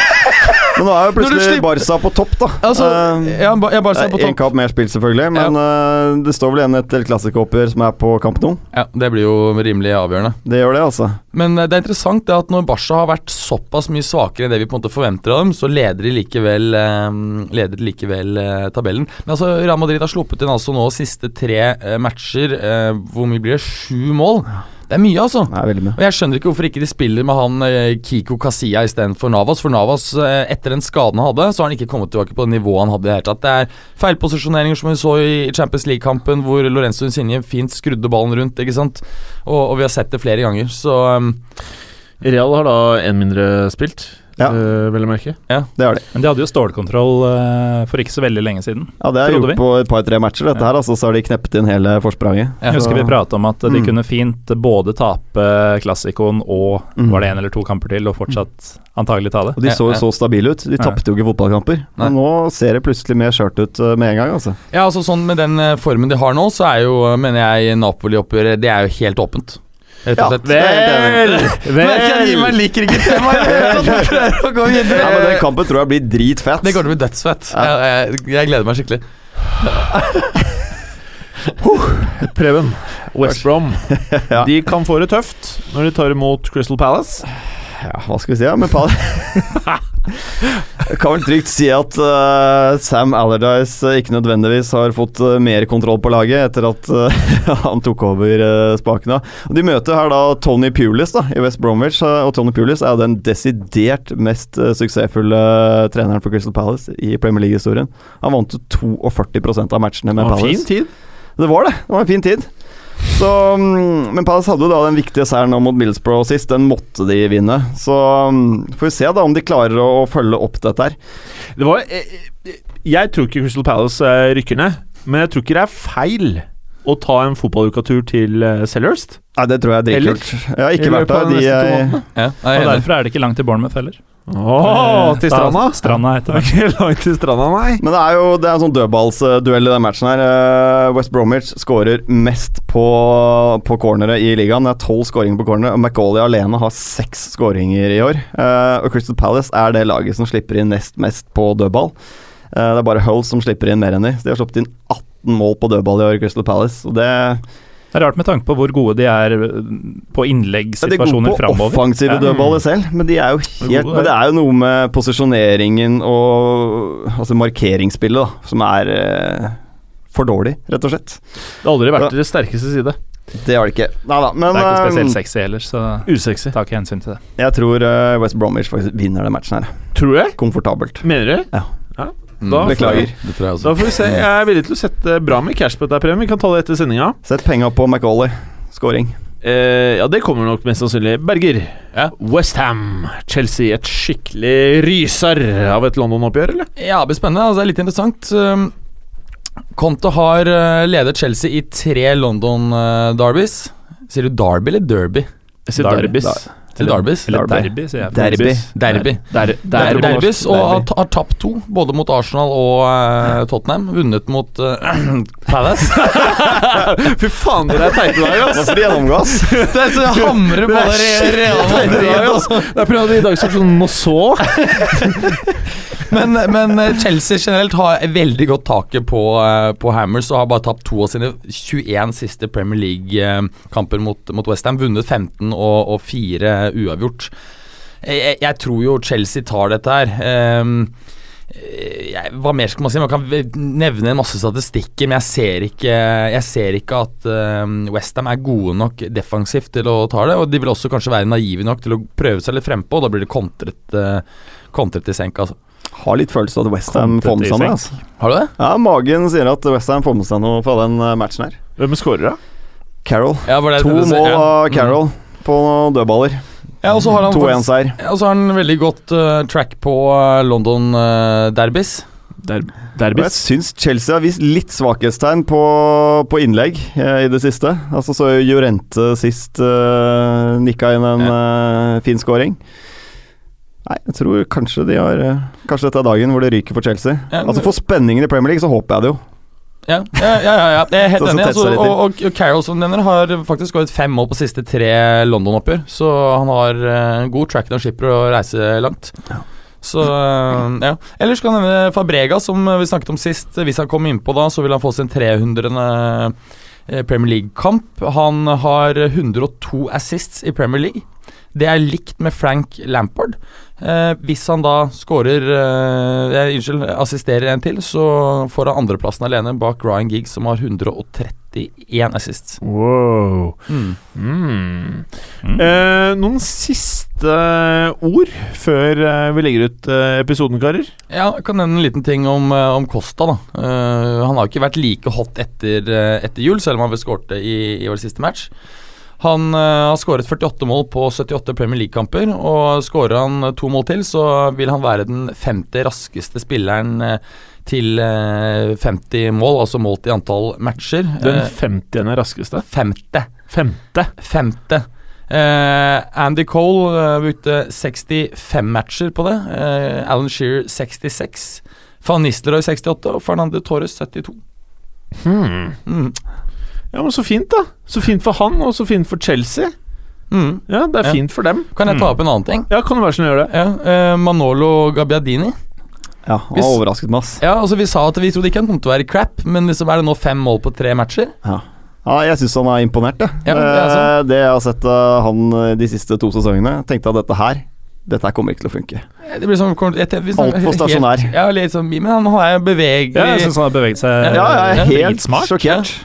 [SPEAKER 6] Men nå er jo
[SPEAKER 5] Når du
[SPEAKER 6] plutselig
[SPEAKER 5] slipper-
[SPEAKER 6] Barca på topp, da.
[SPEAKER 5] Altså,
[SPEAKER 6] Eh,
[SPEAKER 5] jeg, ba- jeg bare ser på
[SPEAKER 6] Én
[SPEAKER 5] tampen.
[SPEAKER 6] kamp mer spilt, selvfølgelig, men eh, det står vel igjen et El Clásico-oppgjør som er på kamp nå.
[SPEAKER 5] Ja, det blir jo rimelig avgjørende.
[SPEAKER 6] Det gjør det, altså.
[SPEAKER 5] Men eh, det er interessant det at når Barca har vært såpass mye svakere enn det vi på en måte forventer av dem, så leder de likevel, eh, leder de likevel eh, tabellen. Men altså, Real Madrid har sluppet inn altså nå siste tre eh, matcher. Eh, hvor mye blir det? Sju mål? Det er mye, altså.
[SPEAKER 6] Det er veldig mye.
[SPEAKER 5] Og Jeg skjønner ikke hvorfor ikke de spiller med han eh, Kiko Casilla istedenfor Navas. For Navas, eh, etter den skaden han hadde, så har han ikke kommet tilbake på det nivået han hadde. i Det hele tatt. Det er feilposisjoneringer som vi så i Champions League-kampen, hvor Lorenzo Insigne fint skrudde ballen rundt. ikke sant? Og, og vi har sett det flere ganger, så um,
[SPEAKER 3] Real har da én mindre spilt,
[SPEAKER 6] Ja.
[SPEAKER 3] eh, vel å merke.
[SPEAKER 6] Det er det.
[SPEAKER 4] Men de hadde jo stålkontroll eh, for ikke så veldig lenge siden.
[SPEAKER 6] Ja, det er
[SPEAKER 4] Trodde
[SPEAKER 6] gjort
[SPEAKER 4] vi.
[SPEAKER 6] på et par-tre matcher, dette her, altså, så har de kneppet inn hele forspranget.
[SPEAKER 5] Ja.
[SPEAKER 4] Jeg husker vi pratet om at de
[SPEAKER 6] Mm.
[SPEAKER 4] kunne fint både tape klassikoen og
[SPEAKER 6] Mm.
[SPEAKER 4] var det en eller to kamper til, og fortsatt antagelig ta det.
[SPEAKER 6] Og de så jo så stabile ut. De tapte jo ikke fotballkamper. Men nå ser det plutselig mer skjørt ut eh, med en gang, altså.
[SPEAKER 5] Ja, altså sånn Med den eh, formen de har nå, så er jo, eh, mener jeg, Napoli-oppgjøret Det er jo helt åpent. Rett
[SPEAKER 6] Ja,
[SPEAKER 5] og slett.
[SPEAKER 6] det er jeg helt enig i.
[SPEAKER 5] Merker jeg Niman liker ikke temaet! jeg vet at du prøver å gå videre.
[SPEAKER 6] Ja, men den kampen tror jeg blir dritfett.
[SPEAKER 5] Det går til å bli dødsfett.
[SPEAKER 6] Ja.
[SPEAKER 5] Jeg, jeg, jeg gleder meg skikkelig.
[SPEAKER 3] Preben, West Brom.
[SPEAKER 6] Ja.
[SPEAKER 3] De kan få det tøft når de tar imot Crystal Palace.
[SPEAKER 6] Ja, hva skal vi si, ja, men Pal Jeg kan vel trygt si at eh, Sam Allardyce eh, ikke nødvendigvis har fått eh, mer kontroll på laget etter at eh, han tok over uh, spakene. Og de møter her da Tony Pulis da, i West Bromwich, eh, og Tony Pulis er jo den desidert mest eh, suksessfulle eh, treneren for Crystal Palace i Premier League-historien. Han vant jo 42 av matchene med
[SPEAKER 3] Det var en
[SPEAKER 6] Palace.
[SPEAKER 3] fin tid.
[SPEAKER 6] Det var det. Det var en fin tid. Så, mm, men Palace hadde jo da den viktige seieren nå mot Millsbrough sist. Den måtte de vinne. Så mm, får vi se da om de klarer å, å følge opp dette her.
[SPEAKER 3] Det var, eh, eh, jeg tror ikke Crystal Palace eh, rykker ned, men jeg tror ikke det er feil å ta en fotballukatur til eh, Selhurst.
[SPEAKER 6] Nei, det tror jeg er
[SPEAKER 3] Eller?
[SPEAKER 6] dritkult. Jeg har
[SPEAKER 3] I
[SPEAKER 6] ikke
[SPEAKER 3] løpet
[SPEAKER 6] vært
[SPEAKER 3] av
[SPEAKER 6] der.
[SPEAKER 3] de
[SPEAKER 6] De
[SPEAKER 3] neste to
[SPEAKER 6] er,
[SPEAKER 3] månedene.
[SPEAKER 5] Ja, jeg
[SPEAKER 4] Og
[SPEAKER 5] er enig.
[SPEAKER 4] Derfor er det ikke langt til Bournemouth heller.
[SPEAKER 3] Åh,
[SPEAKER 4] Eh,
[SPEAKER 3] til
[SPEAKER 4] da-
[SPEAKER 3] stranda?
[SPEAKER 4] Stranda heter
[SPEAKER 3] Det er
[SPEAKER 4] det.
[SPEAKER 3] ikke langt til stranda, nei.
[SPEAKER 6] men det er jo det er en sånn dødballsduell i den matchen her. Eh, West Bromwich skårer mest på, på cornere i ligaen. Det er tolv skåringer på cornere. og Macauley alene har seks skåringer i år. Eh, og Crystal Palace er det laget som slipper inn nest mest på dødball. Eh, det er bare Hull som slipper inn mer enn de. De har sluppet inn 18 mål på dødball i år, Crystal Palace. Og det,
[SPEAKER 4] Det er rart med tanke på hvor gode de er eh, på
[SPEAKER 6] ja, de er gode
[SPEAKER 4] innleggssituasjoner
[SPEAKER 6] på
[SPEAKER 4] framover.
[SPEAKER 6] offensive
[SPEAKER 4] Ja.
[SPEAKER 6] dødballer selv, men, de er jo
[SPEAKER 3] er
[SPEAKER 6] helt,
[SPEAKER 3] gode
[SPEAKER 6] men
[SPEAKER 3] der.
[SPEAKER 6] det er jo noe med posisjoneringen og altså markeringsspillet da, som er eh, for dårlig, rett og slett.
[SPEAKER 3] Det har aldri vært deres sterkeste side.
[SPEAKER 6] Det har de ikke. Nei da, men
[SPEAKER 4] Det er ikke spesielt
[SPEAKER 6] eh,
[SPEAKER 4] sexy heller, så
[SPEAKER 3] Usexy.
[SPEAKER 4] ta ikke hensyn til det.
[SPEAKER 6] jeg tror eh, West Bromwich faktisk vinner den matchen her.
[SPEAKER 3] Tror jeg.
[SPEAKER 6] Komfortabelt.
[SPEAKER 3] Mener du?
[SPEAKER 6] Ja.
[SPEAKER 5] Mm.
[SPEAKER 3] Da-
[SPEAKER 6] Beklager.
[SPEAKER 5] Det tror jeg
[SPEAKER 3] Da
[SPEAKER 5] også.
[SPEAKER 3] får vi se. Jeg er villig til å sette bra med cash på dette, Prem. Vi kan ta det etter sendinga.
[SPEAKER 6] Sett penga på McAuley. Scoring.
[SPEAKER 3] Eh, ja, det kommer nok mest sannsynlig. Berger.
[SPEAKER 5] Ja.
[SPEAKER 3] Westham. Chelsea. Et skikkelig ryser av et London-oppgjør, eller?
[SPEAKER 5] Ja, det blir spennende. Altså, det er litt interessant. Um, Conte har uh, ledet Chelsea i tre London-derbys. Sier du derby eller derby?
[SPEAKER 3] Jeg sier
[SPEAKER 4] Derby.
[SPEAKER 3] derbys.
[SPEAKER 6] Der-
[SPEAKER 5] Sier du derbys?
[SPEAKER 4] Eller
[SPEAKER 6] Derby.
[SPEAKER 4] derby, sier jeg.
[SPEAKER 6] Derby.
[SPEAKER 5] Derby.
[SPEAKER 4] Der,
[SPEAKER 5] Det er
[SPEAKER 4] der, der,
[SPEAKER 5] derbys, og har, ta- har tapt to, både mot Arsenal og eh, Tottenham. Vunnet mot eh, Palace.
[SPEAKER 3] Fy faen, dere er teite i dag, ass!
[SPEAKER 6] Hva skal de gjennomgå, ass?
[SPEAKER 5] det er så jeg hamrer
[SPEAKER 3] Det
[SPEAKER 5] både
[SPEAKER 3] er
[SPEAKER 5] Re-
[SPEAKER 3] skikkelig
[SPEAKER 5] Real
[SPEAKER 3] teite i dag,
[SPEAKER 5] Madrid og
[SPEAKER 3] ass. Det er på grunn av de i dag som sånn og så.
[SPEAKER 5] Men, men eh, Chelsea generelt har veldig godt taket på, eh, på Hammers og har bare tapt to av sine 21 siste Premier League-kamper mot, mot Westham. Vunnet 15 og, og 4 uavgjort. Jeg, jeg- jeg tror jo Chelsea tar dette her. Ehm, jeg, hva mer skal man si? Man kan v- nevne en masse statistikker, men jeg ser ikke, jeg ser ikke at eh, West Westham er gode nok defensivt til å ta det. Og de vil også kanskje være naive nok til å prøve seg litt frempå, og da blir det kontret, eh, kontret i senk. Altså.
[SPEAKER 6] Har litt følelse av at Westham får med seg noe. Altså.
[SPEAKER 5] Har du det?
[SPEAKER 6] Ja, magen sier at Westham får med seg noe fra den eh, matchen her.
[SPEAKER 3] Hvem scorer, da?
[SPEAKER 6] Carroll.
[SPEAKER 5] Ja, var det
[SPEAKER 6] To
[SPEAKER 5] det du sa?
[SPEAKER 6] mål
[SPEAKER 5] Ja. Mm.
[SPEAKER 6] av Carroll på dødballer.
[SPEAKER 5] Ja, og så har han, faktisk,
[SPEAKER 6] 2-1-seier.
[SPEAKER 5] ja, og så har han veldig godt eh, track på eh, London eh, derbys.
[SPEAKER 6] Og Jeg
[SPEAKER 3] Derbys.
[SPEAKER 6] syns Chelsea har vist litt svakhetstegn på, på innlegg eh, i det siste. Altså så Jorente sist eh, nikka inn en eh, fin scoring. Nei, jeg tror kanskje de har eh, Kanskje dette er dagen hvor det ryker for Chelsea.
[SPEAKER 5] Ja,
[SPEAKER 6] altså For spenningen i Premier League så håper jeg det jo.
[SPEAKER 5] Ja, ja, ja, ja, ja. Jeg er helt
[SPEAKER 6] Så- så
[SPEAKER 5] enig.
[SPEAKER 6] tett
[SPEAKER 5] Altså,
[SPEAKER 6] seg litt
[SPEAKER 5] og, og, og Carroll som du nevner, har faktisk skåret fem mål på siste tre London-oppgjør. Så han har eh, god track når skipper å reise langt. Så eh, ja. Ellers kan jeg nevne Fabrega, som vi snakket om sist. Hvis han kommer innpå da, så vil han få sin 300. eh, Premier League-kamp. Han har 102 assists i Premier League. Det er likt med Frank Lampard. Eh, hvis han da skårer eh, eh, Unnskyld, assisterer en til, så får han andreplassen alene bak Ryan Giggs, som har 131 assists.
[SPEAKER 3] Wow. Mm. Eh, noen siste ord før eh, vi legger ut eh, episoden, karer?
[SPEAKER 5] Ja, jeg kan nevne en liten ting om, eh, om Costa. da Eh, Han har ikke vært like hot etter, eh, etter jul, selv om han vel skårte i, i vår siste match. Han eh, har skåret 48 mål på 78 Premier League-kamper, og skårer han eh, to mål til, så vil han være den femte raskeste spilleren eh, til eh, 50 mål, altså målt i antall matcher.
[SPEAKER 3] Den
[SPEAKER 5] Eh,
[SPEAKER 3] 50. raskeste.
[SPEAKER 5] femte.
[SPEAKER 3] Femte.
[SPEAKER 5] Femte. Eh, Andy Cole eh, brukte 65 matcher på det. Eh, Alan Shearer 66. Van Nistelrooy 68 og Fernando Torres 72.
[SPEAKER 3] Hmm.
[SPEAKER 5] Mm.
[SPEAKER 3] Ja, men Så fint, da. Så fint for han, og så fint for Chelsea.
[SPEAKER 5] Mm.
[SPEAKER 3] Ja, Det er
[SPEAKER 5] Ja.
[SPEAKER 3] fint for dem.
[SPEAKER 5] Kan jeg ta
[SPEAKER 4] Mm.
[SPEAKER 5] opp en annen ting?
[SPEAKER 3] Ja, Kan du være så snill å gjøre det?
[SPEAKER 5] Ja, eh, Manolo Gabbiadini.
[SPEAKER 6] Ja, Han
[SPEAKER 5] Hvis-
[SPEAKER 6] har overrasket meg, ass.
[SPEAKER 5] Ja, altså Vi sa at vi trodde ikke han kom til å være crap, men liksom er det nå fem mål på tre matcher?
[SPEAKER 6] Ja, jeg syns han er imponert, jeg.
[SPEAKER 5] Ja, det
[SPEAKER 6] det,
[SPEAKER 5] er sånn.
[SPEAKER 6] det jeg har sett av han eh, de siste to sesongene, tenkte jeg at dette her Dette her kommer ikke til å funke.
[SPEAKER 5] Eh, Det blir sånn Altfor
[SPEAKER 6] Altfor stasjonær.
[SPEAKER 5] Ja, litt sånn, men han er bevegelig.
[SPEAKER 4] Ja, jeg syns han har beveget seg
[SPEAKER 5] Ja,
[SPEAKER 6] Ja, jeg
[SPEAKER 4] eh,
[SPEAKER 6] er helt
[SPEAKER 4] dritsmart.
[SPEAKER 6] sjokkert.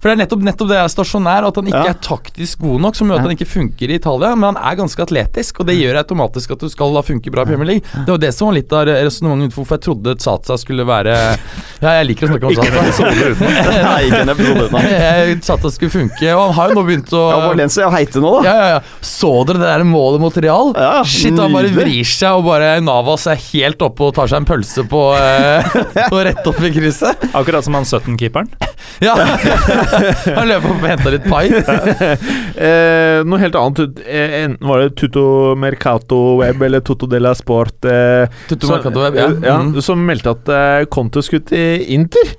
[SPEAKER 5] For det er nettopp, nettopp det er stasjonær, at han ikke
[SPEAKER 6] Ja.
[SPEAKER 5] er taktisk god nok, som gjør
[SPEAKER 6] Ja.
[SPEAKER 5] at
[SPEAKER 6] Mm.
[SPEAKER 5] han ikke funker i Italia, men han er ganske atletisk, og det gjør automatisk at du skal da funke bra i Premier League. Det var det som var litt av resonnementet for hvorfor jeg trodde Satsa skulle være Ja, jeg liker å snakke om Satsa.
[SPEAKER 6] sånn. Nei, ikke en episode uten han.
[SPEAKER 5] Jeg- Satsa skulle funke, og han har jo nå begynt å
[SPEAKER 6] Ja, Valencia er heite nå, da.
[SPEAKER 5] ja, ja, ja. Så dere det der målet mot Real?
[SPEAKER 6] Ja,
[SPEAKER 5] Shit, han bare
[SPEAKER 6] nydelig.
[SPEAKER 5] vrir seg, og bare Navas er helt oppe og tar seg en pølse på, eh, på rett opp i krysset.
[SPEAKER 4] Akkurat som han 17-keeperen.
[SPEAKER 5] Ja! Han løper opp og henter litt pai.
[SPEAKER 3] Eh, noe helt annet. Eh, enten var det Tutto Mercato Web eller Tutto Della Sport eh,
[SPEAKER 5] Tutu
[SPEAKER 3] som-
[SPEAKER 5] Mercado Web, ja.
[SPEAKER 3] eh, ja,
[SPEAKER 5] Mm.
[SPEAKER 3] Som meldte at eh, Conte skulle til Inter.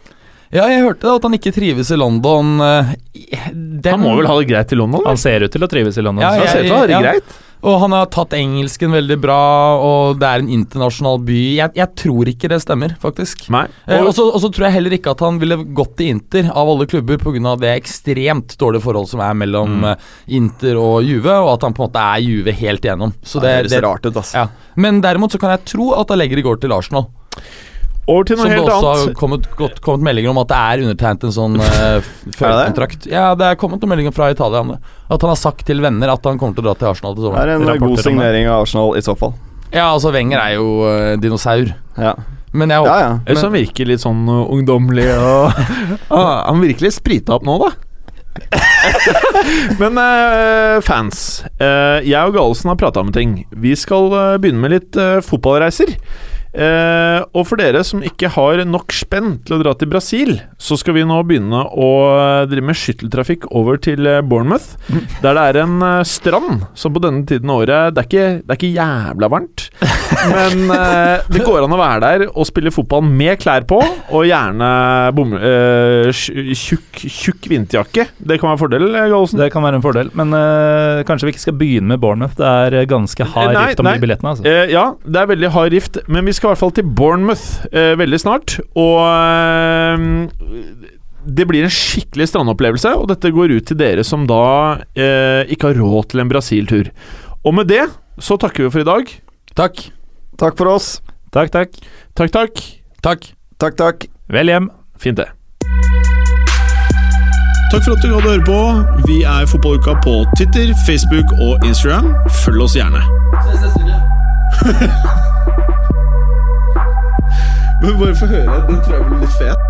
[SPEAKER 5] Ja, jeg hørte det, at han ikke trives i London. eh, i- Den,
[SPEAKER 3] Han må vel ha det greit i London? da?
[SPEAKER 4] Han ser ut til å trives i London.
[SPEAKER 5] Ja,
[SPEAKER 4] så-
[SPEAKER 3] Han ser ut til å ha det
[SPEAKER 5] ja.
[SPEAKER 3] greit.
[SPEAKER 5] Og han har tatt engelsken veldig bra, og det er en internasjonal by. Jeg, jeg tror ikke det stemmer, faktisk.
[SPEAKER 3] Nei.
[SPEAKER 5] Eh, Og
[SPEAKER 3] Og,
[SPEAKER 5] så og så tror jeg heller ikke at han ville gått til Inter, av alle klubber, pga. det ekstremt dårlige forholdet som er
[SPEAKER 6] Mm.
[SPEAKER 5] mellom eh, Inter og Juve, og at han på en måte er Juve helt igjennom.
[SPEAKER 6] Det
[SPEAKER 5] Så det,
[SPEAKER 6] høres
[SPEAKER 5] det
[SPEAKER 6] rart ut, ass.
[SPEAKER 5] ja. Men derimot så kan jeg tro at Allegri går til Arsenal.
[SPEAKER 3] Over til noe
[SPEAKER 5] Som det
[SPEAKER 3] helt
[SPEAKER 5] også har
[SPEAKER 3] annet.
[SPEAKER 5] kommet, gått, kommet meldinger om at det er undertegnet en sånn uh, førkontrakt. Ja, det er kommet noen meldinger fra Italia om det. At han har sagt til venner at han kommer til å dra til Arsenal til
[SPEAKER 6] Det
[SPEAKER 5] sommeren.
[SPEAKER 6] er en
[SPEAKER 3] Rapporter om
[SPEAKER 6] god
[SPEAKER 3] det.
[SPEAKER 6] signering av Arsenal i så fall.
[SPEAKER 5] Ja, altså Wenger er jo eh, dinosaur.
[SPEAKER 6] Ja,
[SPEAKER 5] Men jeg
[SPEAKER 6] ja.
[SPEAKER 5] håper
[SPEAKER 6] ja.
[SPEAKER 3] Jeg synes han virker litt sånn uh, ungdommelig og ah, Han virker litt sprita opp nå, da. Men eh, fans, eh, jeg og Gallosen har prata om ting. Vi skal eh, begynne med litt eh, fotballreiser. Eh, og for dere som ikke har nok spenn til å dra til Brasil, så skal vi nå begynne å eh, drive med skytteltrafikk over til eh, Bournemouth. Der det er en eh, strand som på denne tiden av året Det er ikke, det er ikke jævla varmt. Men eh, det går an å være der og spille fotball med klær på, og gjerne bom, eh, tj- tjukk, tjukk vinterjakke. Det kan være en fordel, eh, Gallosen.
[SPEAKER 4] Det kan være en fordel, men eh, kanskje vi ikke skal begynne med Bournemouth. Det er eh, ganske hard
[SPEAKER 3] Nei,
[SPEAKER 4] rift om
[SPEAKER 3] nei.
[SPEAKER 4] de billettene. altså.
[SPEAKER 3] Eh, ja, det er veldig hard rift, men vi skal i hvert fall til Bournemouth eh, veldig snart. Og eh, det blir en skikkelig strandopplevelse, og dette går ut til dere som da eh, ikke har råd til en Brasil-tur. Og med det så takker vi for i dag.
[SPEAKER 5] Takk.
[SPEAKER 6] Takk for oss.
[SPEAKER 4] Takk, takk.
[SPEAKER 3] Takk, takk.
[SPEAKER 5] Takk.
[SPEAKER 6] Takk, takk.
[SPEAKER 4] Vel hjem.
[SPEAKER 3] Fint, det.
[SPEAKER 1] Takk for at du hadde høre på. Vi er Fotballuka på Titter, Facebook og Instagram. Følg oss gjerne. Men bare få høre. Den tror jeg blir litt fet.